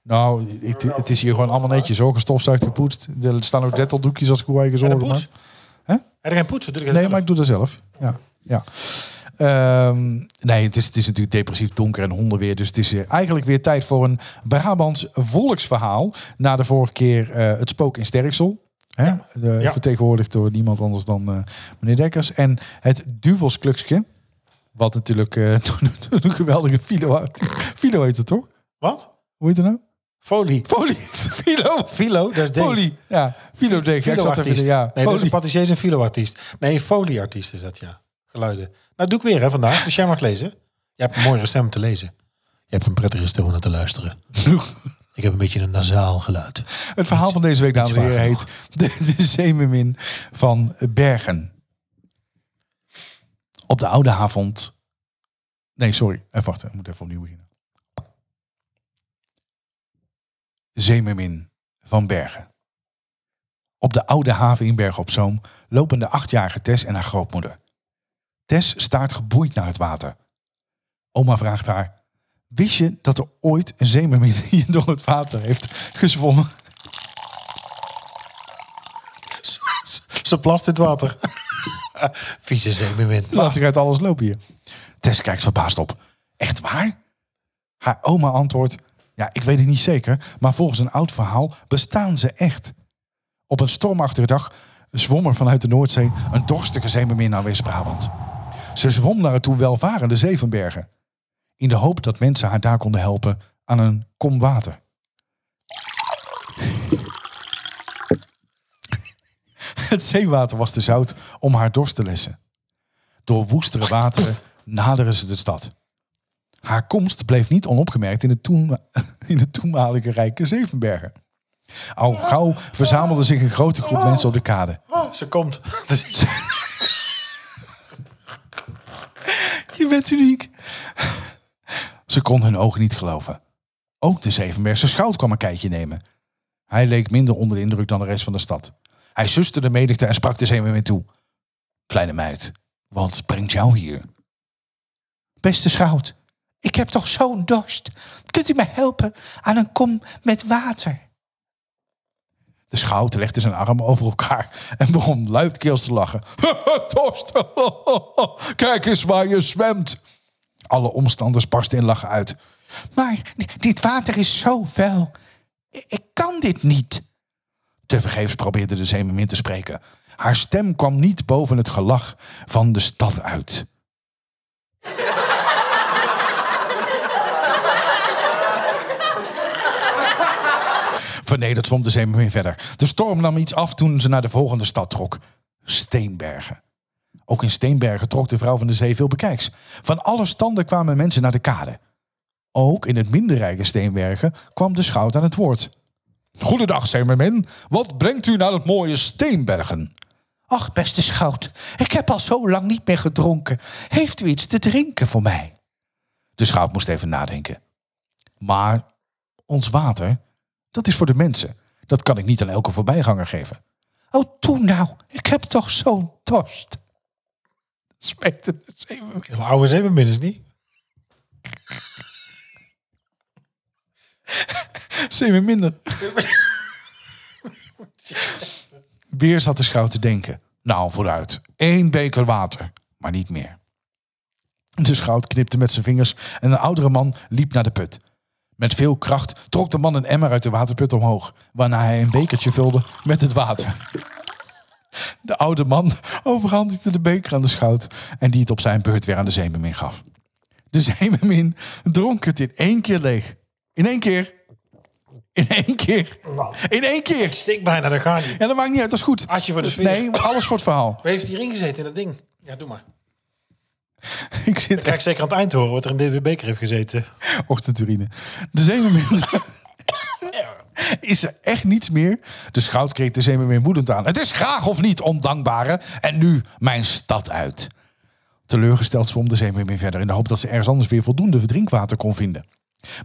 Speaker 4: Nou, het, het is hier gewoon allemaal netjes hoor. Gestofzuigd, gepoetst. Er staan ook detteldoekjes als ik hoe eigen
Speaker 3: En dan
Speaker 4: zorgen maak.
Speaker 3: poets.
Speaker 4: Hè?
Speaker 3: En dan poetsen. doe ik het
Speaker 4: Nee,
Speaker 3: zelf.
Speaker 4: maar ik doe dat zelf. Ja. ja. Ehm, nee, het is, het is natuurlijk depressief donker en hondenweer. Dus het is eh, eigenlijk weer tijd voor een Brabants volksverhaal. Na de vorige keer eh, het spook in Sterksel. Hè? Eh,
Speaker 3: Ja.
Speaker 4: Vertegenwoordigd door niemand anders dan eh, meneer Dekkers. En het Duvelsklukske. Wat natuurlijk eh, een geweldige filo. Filo heet het toch?
Speaker 3: Wat?
Speaker 4: Hoe heet het nou?
Speaker 3: Folie.
Speaker 4: Folie. Filo.
Speaker 3: Filo, dat is Dave.
Speaker 4: Folie. Ja, Filo Dekker. Ik zat
Speaker 3: Filoartiest.
Speaker 4: even, ja.
Speaker 3: Nee, dus
Speaker 4: Folie.
Speaker 3: een patissier is een filoartiest. Nee, folieartiest is dat, ja. Geluiden. Nou, doe ik weer hè, vandaag. Dus jij mag lezen. Je hebt een mooiere stem om te lezen. Je hebt een prettige stem om naar te luisteren. Ik heb een beetje een nasaal geluid.
Speaker 4: Het verhaal van deze week, dames en
Speaker 3: zwaar
Speaker 4: heren, heet de, de Zeemermin van Bergen. Op de oude avond. Nee, sorry. Eh, Even wachten. Ik moet even opnieuw beginnen. Zeemermin van Bergen. Op de oude haven in Bergen op Zoom lopen de achtjarige Tess en haar grootmoeder. Tess staart geboeid naar het water. Oma vraagt haar: Wist je dat er ooit een zeemermin hier door het water heeft gezwommen?
Speaker 3: Ze plast in het water. Vieze zeemermin.
Speaker 4: Laat zich uit alles lopen hier. Tess kijkt verbaasd op. Echt waar? Haar oma antwoordt: Ja, ik weet het niet zeker, maar volgens een oud verhaal bestaan ze echt. Op een stormachtige dag zwom er vanuit de Noordzee een dorstige zeemermin naar West-Brabant. Ze zwom naar het toen welvarende Zevenbergen, in de hoop dat mensen haar daar konden helpen aan een kom water. Het zeewater was te zout om haar dorst te lessen. Door woestere wateren naderen ze de stad. Haar komst bleef niet onopgemerkt in het, toen, in het toenmalige rijke Zevenbergen. Al gauw verzamelde zich een grote groep mensen op de kade.
Speaker 3: Oh, ze komt. Dus
Speaker 4: Je bent uniek. Ze kon hun ogen niet geloven. Ook de Zevenbergse schout kwam een kijkje nemen. Hij leek minder onder de indruk dan de rest van de stad. Hij suste de menigte en sprak de zeemermin toe. Kleine meid, wat brengt jou hier? Beste schout, ik heb toch zo'n dorst. Kunt u mij helpen aan een kom met water? De schout legde zijn armen over elkaar en begon luidkeels te lachen. Dorst, kijk eens waar je zwemt. Alle omstanders barsten in lachen uit. Maar dit water is zo vuil. Ik kan dit niet. Tevergeefs probeerde de zeemermin te spreken. Haar stem kwam niet boven het gelach van de stad uit. Vernederd zwom de zeemermin verder. De storm nam iets af toen ze naar de volgende stad trok. Steenbergen. Ook in Steenbergen trok de vrouw van de zee veel bekijks. Van alle standen kwamen mensen naar de kade. Ook in het minder rijke Steenbergen kwam de schout aan het woord. Goedendag, zeemermin. Wat brengt u naar het mooie Steenbergen? Ach, beste schout, ik heb al zo lang niet meer gedronken. Heeft u iets te drinken voor mij? De schout moest even nadenken. Maar ons water, dat is voor de mensen. Dat kan ik niet aan elke voorbijganger geven. Oh, toe nou. Ik heb toch zo'n dorst. Smaakt het eens even.
Speaker 3: Heel oude zeemermin niet.
Speaker 4: Zeven minder. Weer zat de schouw te denken. Nou, vooruit. Eén beker water, maar niet meer. De schout knipte met zijn vingers en een oudere man liep naar de put. Met veel kracht trok de man een emmer uit de waterput omhoog, waarna hij een bekertje vulde met het water. De oude man overhandigde de beker aan de schout en die het op zijn beurt weer aan de zeemermin gaf. De zeemermin dronk het in één keer leeg. In één keer. In één keer. In één keer.
Speaker 3: Stik bijna, daar gaat hij.
Speaker 4: Ja, dat maakt niet uit, dat is goed. Dus
Speaker 3: Hartje voor de sfeer.
Speaker 4: Nee, maar alles voor het verhaal.
Speaker 3: Wie heeft hierin gezeten in dat ding? Ja, doe maar.
Speaker 4: Ik zit
Speaker 3: Kijk zeker aan het eind te horen wat er in deze beker heeft gezeten.
Speaker 4: ochtendurine. De zeemermin... Is er echt niets meer? De schout kreeg de zeemermin woedend aan. Het is graag of niet, ondankbare. En nu mijn stad uit. Teleurgesteld zwom de zeemermin verder... in de hoop dat ze ergens anders weer voldoende drinkwater kon vinden.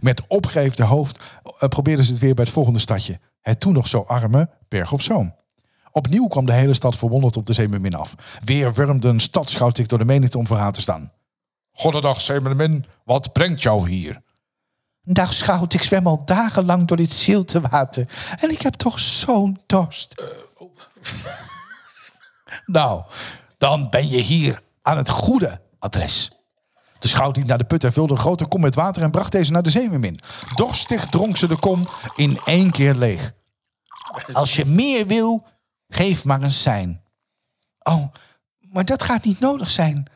Speaker 4: Met opgeheven hoofd eh, probeerden ze het weer bij het volgende stadje. Het toen nog zo arme Berg op Zoom. Opnieuw kwam de hele stad verwonderd op de zeemermin af. Weer wurmde een stadschout zich door de menigte om voor haar te staan. Goddag, Zemermin, wat brengt jou hier? Dag, schout, ik zwem al dagenlang door dit zilte water. En ik heb toch zo'n dorst. nou, dan ben je hier aan het goede adres. De schout liep naar de put en vulde een grote kom met water en bracht deze naar de zeemermin. Dorstig dronk ze de kom in één keer leeg. Als je meer wil, geef maar een sein. Oh, maar dat gaat niet nodig zijn.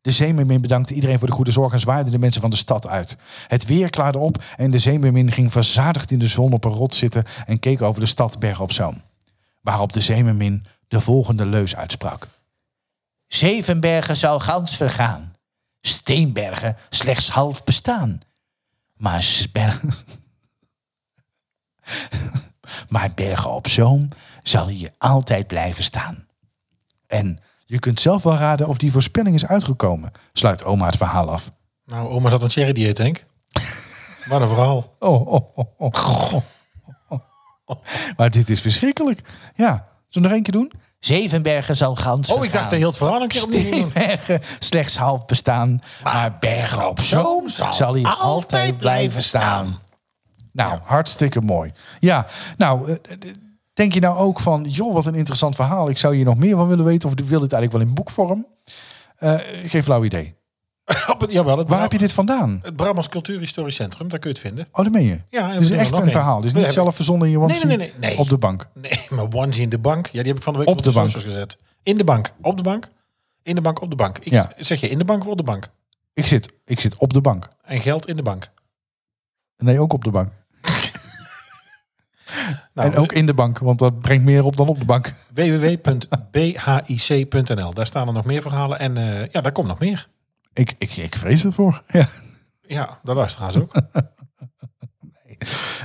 Speaker 4: De zeemermin bedankte iedereen voor de goede zorg en zwaaide de mensen van de stad uit. Het weer klaarde op en de zeemermin ging verzadigd in de zon op een rot zitten en keek over de stad bergen op Zoom. Waarop de zeemermin de volgende leus uitsprak. Zevenbergen zal gans vergaan. Steenbergen slechts half bestaan. Maar, sber- maar bergen op Zoom zal hier altijd blijven staan. En je kunt zelf wel raden of die voorspelling is uitgekomen, sluit oma het verhaal af.
Speaker 3: Nou, oma zat aan cherry dieet, Henk. Wat een verhaal.
Speaker 4: Oh, oh, oh, oh. Maar dit is verschrikkelijk. Ja, zullen we nog eentje doen? Zevenbergen zal gans
Speaker 3: Oh, ik dacht dat heel het verhaal een keer opnieuw ging doen.
Speaker 4: Bergen slechts half bestaan, maar bergen op zoom zal hier altijd blijven staan. Nou, hartstikke mooi. Ja, nou, eh, eh, denk je nou ook van, joh, wat een interessant verhaal. Ik zou hier nog meer van willen weten, of wil dit eigenlijk wel in boekvorm? Eh geen flauw idee.
Speaker 3: Op het- Jawel, het,
Speaker 4: Waar heb je dit vandaan?
Speaker 3: het Brabants Cultuur Historisch Centrum, daar kun je het vinden.
Speaker 4: Oh, dat meen je?
Speaker 3: Ja, en
Speaker 4: dit is
Speaker 3: we doen er
Speaker 4: echt
Speaker 3: nog
Speaker 4: een
Speaker 3: één.
Speaker 4: verhaal. Dit
Speaker 3: We
Speaker 4: is niet
Speaker 3: hebben-
Speaker 4: zelf verzonnen in je onesie
Speaker 3: nee, nee, nee.
Speaker 4: op de bank.
Speaker 3: Nee, maar onesie in de bank. Ja, die heb ik van de week
Speaker 4: Op
Speaker 3: op,
Speaker 4: de
Speaker 3: de,
Speaker 4: bank.
Speaker 3: socials gezet. In de bank, op de bank. In de bank, op de bank. Ik
Speaker 4: Ja.
Speaker 3: zeg je in de bank of op de bank?
Speaker 4: Ik zit, ik zit op de bank.
Speaker 3: En geld in de bank.
Speaker 4: Nee, ook op de bank.
Speaker 3: Nou,
Speaker 4: en ook in de bank, want dat brengt meer op dan op de bank.
Speaker 3: www.bhic.nl. Daar staan er nog meer verhalen. En eh, ja, daar komt nog meer.
Speaker 4: Ik, ik, ik vrees ervoor. Ja.
Speaker 3: Ja, daar luisteren ze ook.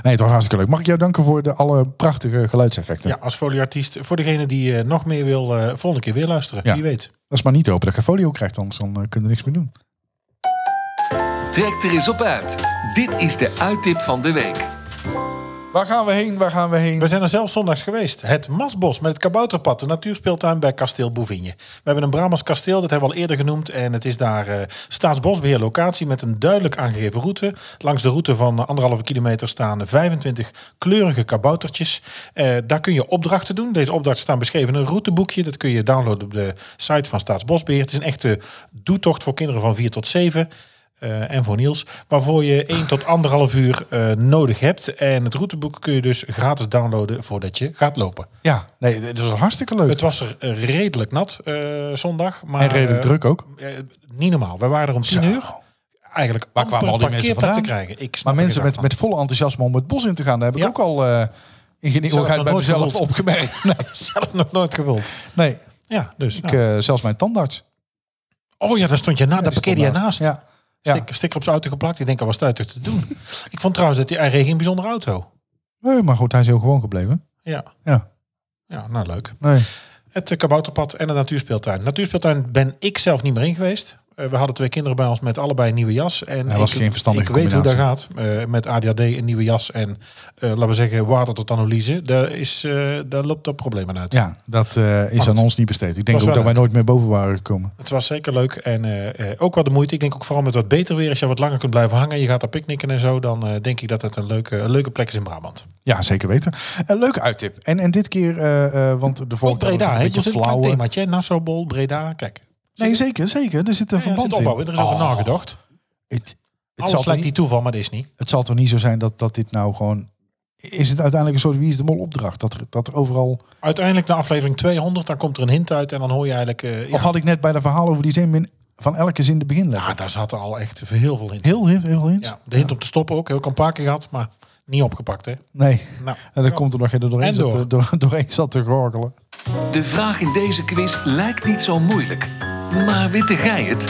Speaker 4: Nee, toch hartstikke leuk. Mag ik jou danken voor de alle prachtige geluidseffecten?
Speaker 3: Ja, als folieartiest. Voor degene die eh, nog meer wil, eh volgende keer weer luisteren.
Speaker 4: Ja.
Speaker 3: Wie weet.
Speaker 4: Dat is maar niet te hopen dat je folio krijgt, anders dan eh, kun je er niks meer doen.
Speaker 1: Trek er eens op uit. Dit is de uittip van de week.
Speaker 4: Waar gaan we heen? Waar gaan we heen?
Speaker 3: We zijn er zelf zondags geweest. Het Masbos met het Kabouterpad, de natuurspeeltuin bij Kasteel Boevinje. We hebben een Brabants kasteel, dat hebben we al eerder genoemd. En het is daar eh, staatsbosbeheer locatie met een duidelijk aangegeven route. Langs de route van eh, anderhalve kilometer staan 25 kleurige kaboutertjes. Eh, daar kun je opdrachten doen. Deze opdrachten staan beschreven in een routeboekje. Dat kun je downloaden op de site van Staatsbosbeheer. Het is een echte doetocht voor kinderen van 4 tot 7. eh, en voor Niels, waarvoor je 1 tot 1,5 uur eh, nodig hebt. En het routeboek kun je dus gratis downloaden voordat je gaat lopen.
Speaker 4: Ja, nee, het was hartstikke leuk.
Speaker 3: Het was er eh, redelijk nat eh, zondag. Maar,
Speaker 4: en redelijk
Speaker 3: eh,
Speaker 4: druk ook.
Speaker 3: eh, niet normaal. We waren er om 10
Speaker 4: Zo.
Speaker 3: uur. Eigenlijk
Speaker 4: Waar
Speaker 3: waar
Speaker 4: kwamen
Speaker 3: kwamen
Speaker 4: al die mensen
Speaker 3: parkeerplek te
Speaker 4: vandaan?
Speaker 3: krijgen. Ik snap
Speaker 4: Maar
Speaker 3: er
Speaker 4: mensen
Speaker 3: geen
Speaker 4: met,
Speaker 3: zak
Speaker 4: met vol enthousiasme om het bos in te gaan, daar heb ik
Speaker 3: Ja.
Speaker 4: ook al eh in geen eeuwigheid
Speaker 3: nog
Speaker 4: bij
Speaker 3: nooit
Speaker 4: mezelf
Speaker 3: gevoeld.
Speaker 4: opgemerkt. Nee,
Speaker 3: van. zelf nog nooit gevuld.
Speaker 4: nee.
Speaker 3: Ja, dus.
Speaker 4: Ik,
Speaker 3: nou.
Speaker 4: eh, zelfs mijn tandarts.
Speaker 3: oh ja, daar stond je na. daar
Speaker 4: die
Speaker 3: parkeerde je
Speaker 4: stond
Speaker 3: naast.
Speaker 4: Ja. Ja.
Speaker 3: Stik- sticker op zijn auto geplakt. Ik denk, al was het uitig te doen. ik vond trouwens dat die hij reed geen bijzondere auto.
Speaker 4: Nee, maar goed, hij is heel gewoon gebleven.
Speaker 3: Ja.
Speaker 4: Ja.
Speaker 3: Ja, nou leuk.
Speaker 4: Nee.
Speaker 3: Het eh, kabouterpad en de natuurspeeltuin. Natuurspeeltuin ben ik zelf niet meer in geweest. Eh, we hadden twee kinderen bij ons met allebei een nieuwe jas. En
Speaker 4: Hij was
Speaker 3: ik,
Speaker 4: geen verstandige
Speaker 3: Ik weet hoe dat gaat. eh, met ADHD, een nieuwe jas en eh, laten we zeggen water tot analyse. Daar, is, eh, daar loopt dat problemen uit.
Speaker 4: Ja, dat eh, is
Speaker 3: Maar
Speaker 4: aan
Speaker 3: het-
Speaker 4: ons niet besteed. Ik denk
Speaker 3: was
Speaker 4: ook
Speaker 3: wel
Speaker 4: dat wij nooit meer boven waren gekomen.
Speaker 3: Het was zeker leuk en eh, eh, ook wel de moeite. Ik denk ook vooral met wat beter weer. Als je wat langer kunt blijven hangen, je gaat daar picknicken en zo. Dan eh, denk ik dat het een leuke, een leuke plek is in Brabant.
Speaker 4: Ja, zeker weten. Een leuke uittip. En, en dit keer, eh, eh, want de
Speaker 3: Ook
Speaker 4: vorige keer was het
Speaker 3: Breda, hè?
Speaker 4: een beetje
Speaker 3: Het is een klein
Speaker 4: flauwe.
Speaker 3: themaatje. hè? Nassau, Bol, Breda, kijk.
Speaker 4: Nee, zeker, zeker. Er zit een
Speaker 3: Ja, er
Speaker 4: verband
Speaker 3: zit opbouw in.
Speaker 4: in.
Speaker 3: Er is over
Speaker 4: Oh,
Speaker 3: nagedacht.
Speaker 4: Het, het,
Speaker 3: Alles
Speaker 4: zal toch
Speaker 3: lijkt
Speaker 4: niet,
Speaker 3: die toeval, maar dat is niet.
Speaker 4: het zal toch niet zo zijn dat, dat dit nou gewoon... Is het uiteindelijk een soort wie is de mol opdracht? Dat er, dat er overal...
Speaker 3: Uiteindelijk na aflevering 200, dan komt er een hint uit en dan hoor je eigenlijk... eh ja,
Speaker 4: Of had ik net bij de verhaal over die zeemin van elke zin de beginletter?
Speaker 3: ja, daar zaten al echt heel veel hints.
Speaker 4: Heel, heel, heel hints?
Speaker 3: ja, de hint om te stoppen ook. Heel ik een paar keer gehad, maar niet opgepakt. Hè?
Speaker 4: Nee.
Speaker 3: Nou,
Speaker 4: En dan komt er nog een doorheen,
Speaker 3: En
Speaker 4: zat,
Speaker 3: door.
Speaker 4: te- door, doorheen zat te gorgelen.
Speaker 1: De vraag in deze quiz lijkt niet zo moeilijk. Maar witte gij het?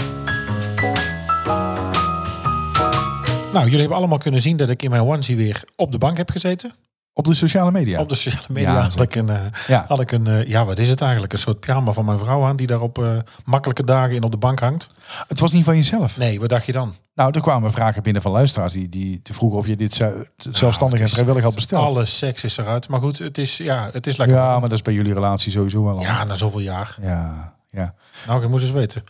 Speaker 3: nou, jullie hebben allemaal kunnen zien dat ik in mijn onesie weer op de bank heb gezeten.
Speaker 4: Op de sociale media.
Speaker 3: Op de sociale media
Speaker 4: Ja,
Speaker 3: had ik een, eh,
Speaker 4: Ja.
Speaker 3: had ik een eh, ja, wat is het eigenlijk? Een soort pyjama van mijn vrouw aan die daar op eh, makkelijke dagen in op de bank hangt.
Speaker 4: Het was niet van jezelf.
Speaker 3: Nee, wat dacht je dan?
Speaker 4: Nou, er kwamen vragen binnen van luisteraars die, die te vroegen of je dit zou- zelfstandig en vrijwillig had besteld.
Speaker 3: Alle seks is eruit. Maar goed, het is, ja, het is lekker.
Speaker 4: Ja, maar dat is bij jullie relatie sowieso wel. al.
Speaker 3: Ja, na zoveel jaar.
Speaker 4: ja. ja.
Speaker 3: Nou, ik moet eens weten.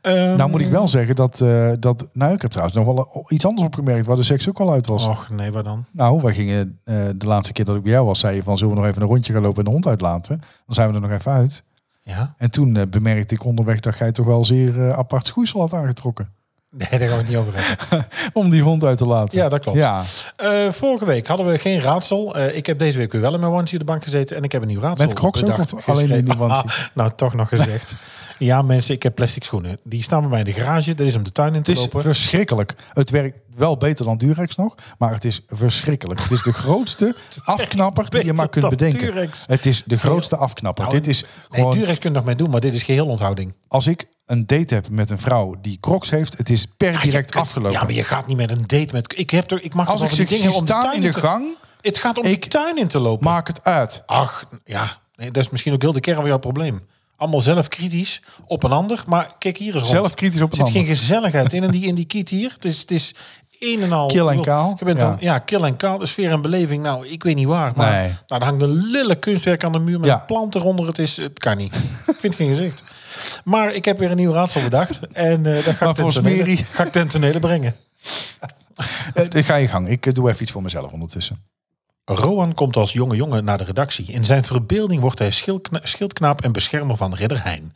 Speaker 3: Ehm,
Speaker 4: Nou moet ik wel zeggen dat, eh, dat... Nou, ik heb trouwens nog wel iets anders opgemerkt waar de seks ook al uit was.
Speaker 3: Och, nee, wat dan?
Speaker 4: Nou, wij gingen eh, de laatste keer dat ik bij jou was, zei je van zullen we nog even een rondje gaan lopen en de hond uitlaten. Dan zijn we er nog even uit.
Speaker 3: Ja?
Speaker 4: En toen eh, bemerkte ik onderweg dat jij toch wel zeer eh, apart schoeisel had aangetrokken.
Speaker 3: Nee, daar gaan we het niet over hebben.
Speaker 4: Om die hond uit te laten.
Speaker 3: Ja, dat klopt.
Speaker 4: Ja,
Speaker 3: Eh, vorige week hadden we geen raadsel. Eh, ik heb deze week weer wel in mijn onesie op de bank gezeten. En ik heb een nieuw raadsel.
Speaker 4: Met Crocs ook
Speaker 3: bedacht,
Speaker 4: of alleen in
Speaker 3: geschreven.
Speaker 4: die onesie?
Speaker 3: Ah, nou, toch nog gezegd. ja, mensen, ik heb plastic schoenen. Die staan bij mij in de garage. Dat is om de tuin in
Speaker 4: het
Speaker 3: te
Speaker 4: is
Speaker 3: lopen.
Speaker 4: verschrikkelijk. Het werkt wel beter dan Durex nog, maar het is verschrikkelijk. Het is de grootste afknapper die je maar kunt
Speaker 3: dan
Speaker 4: bedenken.
Speaker 3: Durex.
Speaker 4: Het is de grootste afknapper.
Speaker 3: Nou,
Speaker 4: Dit is
Speaker 3: Nee,
Speaker 4: gewoon,
Speaker 3: Durex kun je nog mee doen, maar dit is geheel onthouding.
Speaker 4: als ik een date heb met een vrouw die Crocs heeft, het is per direct afgelopen.
Speaker 3: Ja, maar je gaat niet met een date met... Ik, heb toch, ik mag
Speaker 4: als
Speaker 3: toch
Speaker 4: ik
Speaker 3: wel
Speaker 4: ze
Speaker 3: van die dingen
Speaker 4: zie
Speaker 3: om
Speaker 4: staan
Speaker 3: tuin
Speaker 4: in de
Speaker 3: te-
Speaker 4: gang,
Speaker 3: Het gaat om
Speaker 4: Ik-
Speaker 3: de tuin in te lopen.
Speaker 4: maak het uit.
Speaker 3: Ach, ja. Nee, dat is misschien ook heel de kern van jouw probleem. Allemaal zelf kritisch op een ander. Maar kijk hier eens rond.
Speaker 4: Zelfkritisch op een
Speaker 3: Er zit
Speaker 4: ander.
Speaker 3: geen gezelligheid in, in die, in die kiet hier. Het is, het is een en al...
Speaker 4: Kil en
Speaker 3: ik bedoel,
Speaker 4: kaal.
Speaker 3: Je bent
Speaker 4: Ja.
Speaker 3: dan, ja, kil en kaal. De sfeer en beleving, nou, ik weet niet waar. Maar
Speaker 4: Nee.
Speaker 3: nou, er hangt een lille kunstwerk aan de muur met
Speaker 4: Ja.
Speaker 3: een plant eronder. Het, is, het kan niet. ik vind geen gezicht. Maar ik heb weer een nieuw raadsel bedacht. En eh dat ga
Speaker 4: Maar
Speaker 3: ik, ten
Speaker 4: voor
Speaker 3: tonele-
Speaker 4: Smeri-
Speaker 3: ga ik ten tonele brengen.
Speaker 4: Eh, dan ga je gang. Ik eh, doe even iets voor mezelf ondertussen.
Speaker 3: Roan komt als jonge jongen naar de redactie. In zijn verbeelding wordt hij schildkna- schildknaap en beschermer van ridder Hein.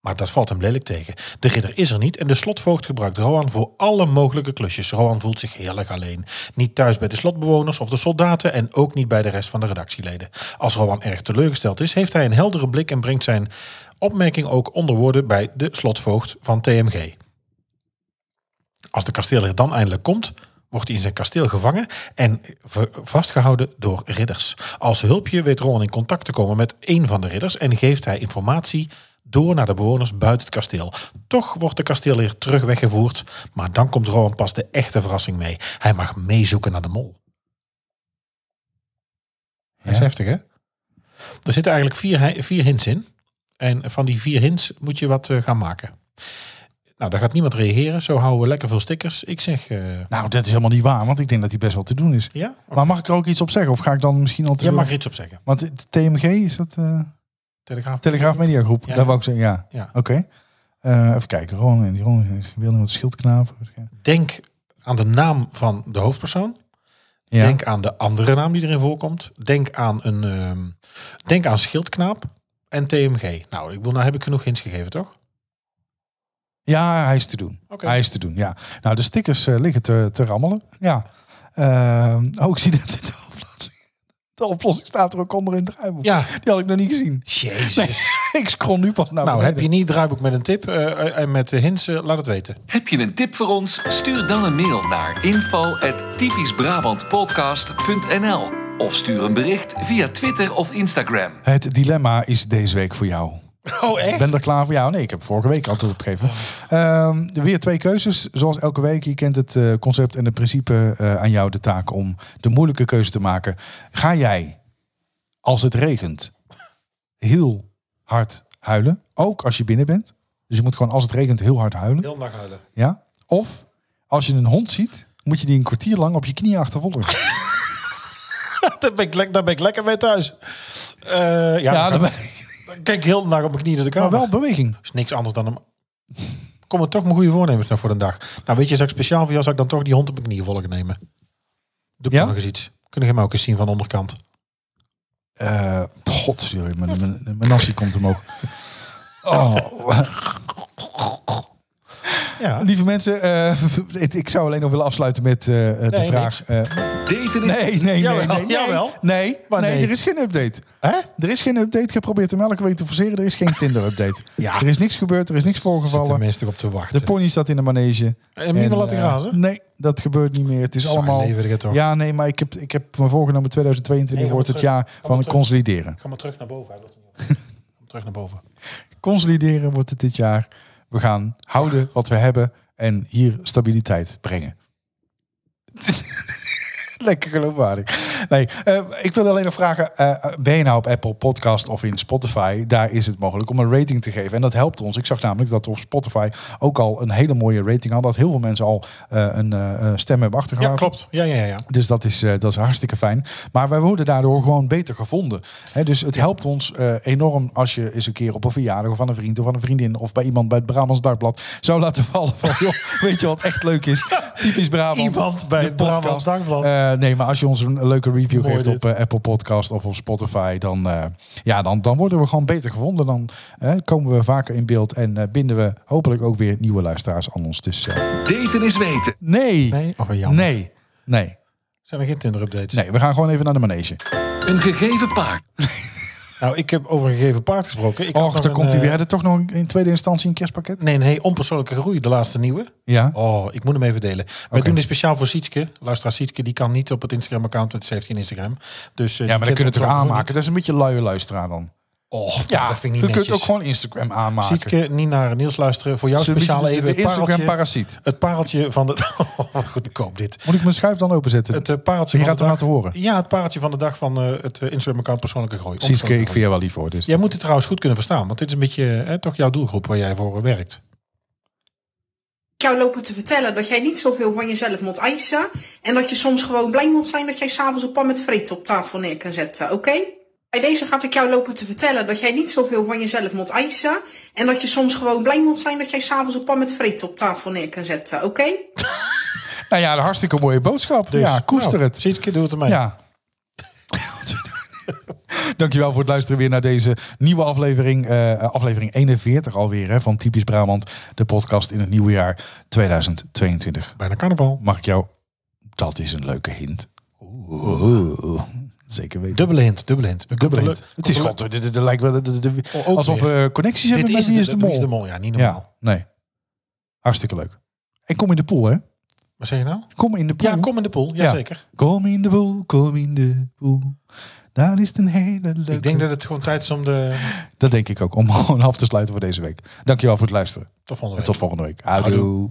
Speaker 3: Maar dat valt hem lelijk tegen. De ridder is er niet en de slotvoogd gebruikt Roan voor alle mogelijke klusjes. Roan voelt zich heerlijk alleen. Niet thuis bij de slotbewoners of de soldaten en ook niet bij de rest van de redactieleden. Als Roan erg teleurgesteld is, heeft hij een heldere blik en brengt zijn opmerking ook onder woorden bij de slotvoogd van TMG. Als de kasteelheer dan eindelijk komt, wordt hij in zijn kasteel gevangen en v- vastgehouden door ridders. Als hulpje weet Rowan in contact te komen met één van de ridders en geeft hij informatie door naar de bewoners buiten het kasteel. Toch wordt de kasteelheer terug weggevoerd, maar dan komt Rowan pas de echte verrassing mee. Hij mag meezoeken naar de mol. Dat is
Speaker 4: Ja.
Speaker 3: heftig, hè? Er zitten eigenlijk vier, hi- vier hints in. En van die vier hints moet je wat eh, gaan maken. Nou, daar gaat niemand reageren. Zo houden we lekker veel stickers. Ik zeg, eh,
Speaker 4: Nou, dat is helemaal niet waar, want ik denk dat die best wel te doen is.
Speaker 3: ja?
Speaker 4: Maar mag ik er ook iets op zeggen? Of ga ik dan misschien al te
Speaker 3: Jij
Speaker 4: veel-
Speaker 3: mag er iets op zeggen.
Speaker 4: Want het TMG is dat... eh,
Speaker 3: Telegraaf.
Speaker 4: Telegraaf Media Groep,
Speaker 3: Ja.
Speaker 4: dat wou ik zeggen, ja.
Speaker 3: Ja.
Speaker 4: Oké. Eh, even kijken, Ron en die Ron in verbeelding met de schildknaap.
Speaker 3: Denk aan de naam van de hoofdpersoon.
Speaker 4: Ja.
Speaker 3: Denk aan de andere naam die erin voorkomt. Denk aan een ehm, denk aan schildknaap en TMG. Nou, ik wil nou heb ik genoeg hints gegeven, toch?
Speaker 4: ja, hij is te doen.
Speaker 3: Oké.
Speaker 4: Hij is te doen, ja. Nou, de stickers eh, liggen te, te rammelen. Ja. Ehm, oh, ik zie dat de oplossing, de oplossing staat er ook onder in het draaiboek.
Speaker 3: Ja.
Speaker 4: Die had ik nog niet gezien.
Speaker 3: Jezus.
Speaker 4: ik scroll nu pas naar
Speaker 3: Nou, heb
Speaker 4: beneden.
Speaker 3: je niet draaiboek met een tip eh, en met de hints, eh, laat het weten.
Speaker 1: Heb je een tip voor ons? Stuur dan een mail naar info@typischbrabantpodcast.nl of stuur een bericht via Twitter of Instagram.
Speaker 4: Het dilemma is deze week voor jou.
Speaker 3: Oh, echt?
Speaker 4: Ben er klaar voor? Ja, nee, ik heb vorige week antwoord opgegeven. Ehm weer twee keuzes, zoals elke week. Je kent het eh, concept en het principe eh, aan jou de taak om de moeilijke keuze te maken. Ga jij, als het regent, heel hard huilen, ook als je binnen bent? Dus je moet gewoon als het regent heel hard huilen.
Speaker 3: Heel nacht huilen.
Speaker 4: Ja? Of als je een hond ziet, moet je die een kwartier lang op je knieën achtervolgen.
Speaker 3: Daar ben ik, lek- daar ben ik lekker mee thuis. Eh, ja,
Speaker 4: Ja,
Speaker 3: dan,
Speaker 4: dan
Speaker 3: ga-
Speaker 4: ben ik-
Speaker 3: dan kijk ik heel naar op mijn knieën naar de
Speaker 4: maar
Speaker 3: kamer.
Speaker 4: wel beweging.
Speaker 3: is niks anders dan hem. Kom er toch mijn goede voornemens naar voor de dag. Nou, weet je, zou ik speciaal voor jou zou ik dan toch die hond op mijn knieën volgen nemen. Doe ik
Speaker 4: Ja?
Speaker 3: dan nog eens iets. Kunnen jullie mij ook eens zien van de onderkant?
Speaker 4: Eh God, sorry, mijn, mijn, mijn nasi komt omhoog. Oh,
Speaker 3: Ja.
Speaker 4: lieve mensen, eh, ik, ik zou alleen nog willen afsluiten met eh, eh, de
Speaker 3: Nee,
Speaker 4: vraag. eh,
Speaker 1: Daten is...
Speaker 4: nee, nee, nee,
Speaker 3: Jawel,
Speaker 4: nee, nee,
Speaker 3: jawel.
Speaker 4: nee,
Speaker 3: Maar
Speaker 4: nee,
Speaker 3: nee.
Speaker 4: er is geen update.
Speaker 3: Hè?
Speaker 4: Er is geen update. Geprobeerd hem elke week te forceren. Er is geen Tinder-update.
Speaker 3: Ja.
Speaker 4: Er is niks gebeurd. Er is niks
Speaker 3: Zit er
Speaker 4: voorgevallen.
Speaker 3: mensen op te wachten.
Speaker 4: De pony staat in de manege.
Speaker 3: En hem niet meer laten
Speaker 4: eh,
Speaker 3: grazen?
Speaker 4: nee, dat gebeurt niet meer. Het is
Speaker 3: Saai
Speaker 4: allemaal.
Speaker 3: leven, dit, toch?
Speaker 4: Ja, nee, maar ik heb, ik heb me voorgenomen 2022
Speaker 3: Nee,
Speaker 4: wordt
Speaker 3: ga
Speaker 4: het
Speaker 3: maar
Speaker 4: jaar van het
Speaker 3: terug.
Speaker 4: consolideren.
Speaker 3: Ga maar terug naar boven. Hij wil het niet op. Ga maar terug naar boven.
Speaker 4: Consolideren wordt het dit jaar. We gaan houden wat we hebben en hier stabiliteit brengen. Lekker geloofwaardig. Nee, eh, ik wil alleen nog vragen, eh, ben je nou op Apple Podcast of in Spotify? Daar is het mogelijk om een rating te geven. En dat helpt ons. Ik zag namelijk dat we op Spotify ook al een hele mooie rating hadden. Dat heel veel mensen al eh, een eh, stem hebben
Speaker 3: Ja,
Speaker 4: achtergehaald.
Speaker 3: klopt. Ja, ja, ja. ja.
Speaker 4: Dus dat is, eh, dat is hartstikke fijn. Maar wij worden daardoor gewoon beter gevonden. Hè, dus het helpt ons eh, enorm als je eens een keer op een verjaardag of van een vriend of van een vriendin of bij iemand bij het Brabants Dagblad zou laten vallen van joh, weet je wat echt leuk is? Typisch Brabant.
Speaker 3: Iemand bij
Speaker 4: De
Speaker 3: het Brabants
Speaker 4: podcast.
Speaker 3: Dagblad.
Speaker 4: Eh, nee, maar als je ons een leuke review
Speaker 3: Mooi
Speaker 4: geeft
Speaker 3: dit.
Speaker 4: op eh, Apple Podcast of op Spotify, dan, eh, ja, dan, dan worden we gewoon beter gevonden. Dan eh, komen we vaker in beeld en eh, binden we hopelijk ook weer nieuwe luisteraars aan ons. Dus eh,
Speaker 1: Daten is weten.
Speaker 4: nee, nee,
Speaker 3: Nee? Oh, jammer.
Speaker 4: nee. nee.
Speaker 3: Zijn er geen Tinder-updates?
Speaker 4: Nee, we gaan gewoon even naar de manege.
Speaker 1: Een gegeven paard.
Speaker 3: Nou, ik heb over een gegeven paard gesproken. Ik had
Speaker 4: Och,
Speaker 3: nog
Speaker 4: daar
Speaker 3: een,
Speaker 4: komt hij
Speaker 3: eh,
Speaker 4: weer. Had je toch nog in tweede instantie een kerstpakket?
Speaker 3: Nee, nee, onpersoonlijke groei, de laatste nieuwe.
Speaker 4: Ja.
Speaker 3: Oh, ik moet hem even delen. Wij
Speaker 4: Oké.
Speaker 3: doen dit speciaal voor Sietske. Luisteraar Sietske, die kan niet op het Instagram-account, want ze heeft geen Instagram. Dus,
Speaker 4: Ja, maar dan kun je het toch aanmaken. Dat is een beetje luie luisteraar dan.
Speaker 3: Oh,
Speaker 4: Ja,
Speaker 3: dat vind ik
Speaker 4: je
Speaker 3: niet netjes.
Speaker 4: kunt ook gewoon Instagram aanmaken.
Speaker 3: Sietske, niet naar Niels luisteren. Voor jou
Speaker 4: Zo'n beetje
Speaker 3: speciaal
Speaker 4: de-
Speaker 3: even het
Speaker 4: de
Speaker 3: pareltje,
Speaker 4: Instagram-parasiet.
Speaker 3: het pareltje van de... Oh, goedkoop dit.
Speaker 4: Moet ik mijn schuif dan openzetten?
Speaker 3: Het eh, pareltje
Speaker 4: Je
Speaker 3: van
Speaker 4: gaat
Speaker 3: de
Speaker 4: hem
Speaker 3: dag-
Speaker 4: laten horen.
Speaker 3: Ja, het pareltje van de dag van eh, het eh, Instagram-account Persoonlijke Groei.
Speaker 4: Sietske, ik
Speaker 3: Onpersoonlijke
Speaker 4: vind je wel lief voor. Dus.
Speaker 3: groei. Jij moet het trouwens goed kunnen verstaan, want dit is een beetje eh, toch jouw doelgroep waar jij voor eh, werkt.
Speaker 5: jou lopen te vertellen dat jij niet zoveel van jezelf moet eisen. En dat je soms gewoon blij moet zijn dat jij s'avonds een pan met vreten op tafel neer kan zetten, oké? Bij deze gaat ik jou lopen te vertellen dat jij niet zoveel van jezelf moet eisen. En dat je soms gewoon blij moet zijn dat jij s'avonds een pan met vreten op tafel neer kan zetten, oké?
Speaker 4: Nou ja, een hartstikke mooie boodschap.
Speaker 3: Dus,
Speaker 4: ja, koester
Speaker 3: nou,
Speaker 4: het.
Speaker 3: Sietske, doe het ermee.
Speaker 4: Ja. Dankjewel voor het luisteren weer naar deze nieuwe aflevering. eh, aflevering 41 alweer hè, van Typisch Brabant. De podcast in het nieuwe jaar 2022.
Speaker 3: Bijna carnaval.
Speaker 4: Mag ik jou... Dat is een leuke hint. Oeh. Zeker weten.
Speaker 3: Dubbele hint, dubbele hint. We
Speaker 4: Dubbele
Speaker 3: kunnen
Speaker 4: hint. Oh,
Speaker 3: leuk-
Speaker 4: Het is
Speaker 3: kunnen
Speaker 4: god. dit- dit- dit lijkt wel dit- dit- dit-
Speaker 3: Oh, ook
Speaker 4: alsof
Speaker 3: weer.
Speaker 4: we eh, connecties
Speaker 3: leuk-
Speaker 4: hebben met Wie is de
Speaker 3: Wie is de
Speaker 4: Mol.
Speaker 3: mol? Ja, niet normaal.
Speaker 4: Ja, nee. Hartstikke leuk. En kom in de pool, hè?
Speaker 3: Wat zeg je nou?
Speaker 4: Kom in de pool.
Speaker 3: Ja, kom in de pool. Jazeker.
Speaker 4: Kom in de pool, kom in de pool. Daar is het een hele leuke...
Speaker 3: Ik denk dat het gewoon tijd is om de...
Speaker 4: Dat denk ik ook. Om gewoon af te sluiten voor deze week. Dankjewel voor het luisteren.
Speaker 3: Tot volgende
Speaker 4: En
Speaker 3: week.
Speaker 4: tot volgende week. Adieu.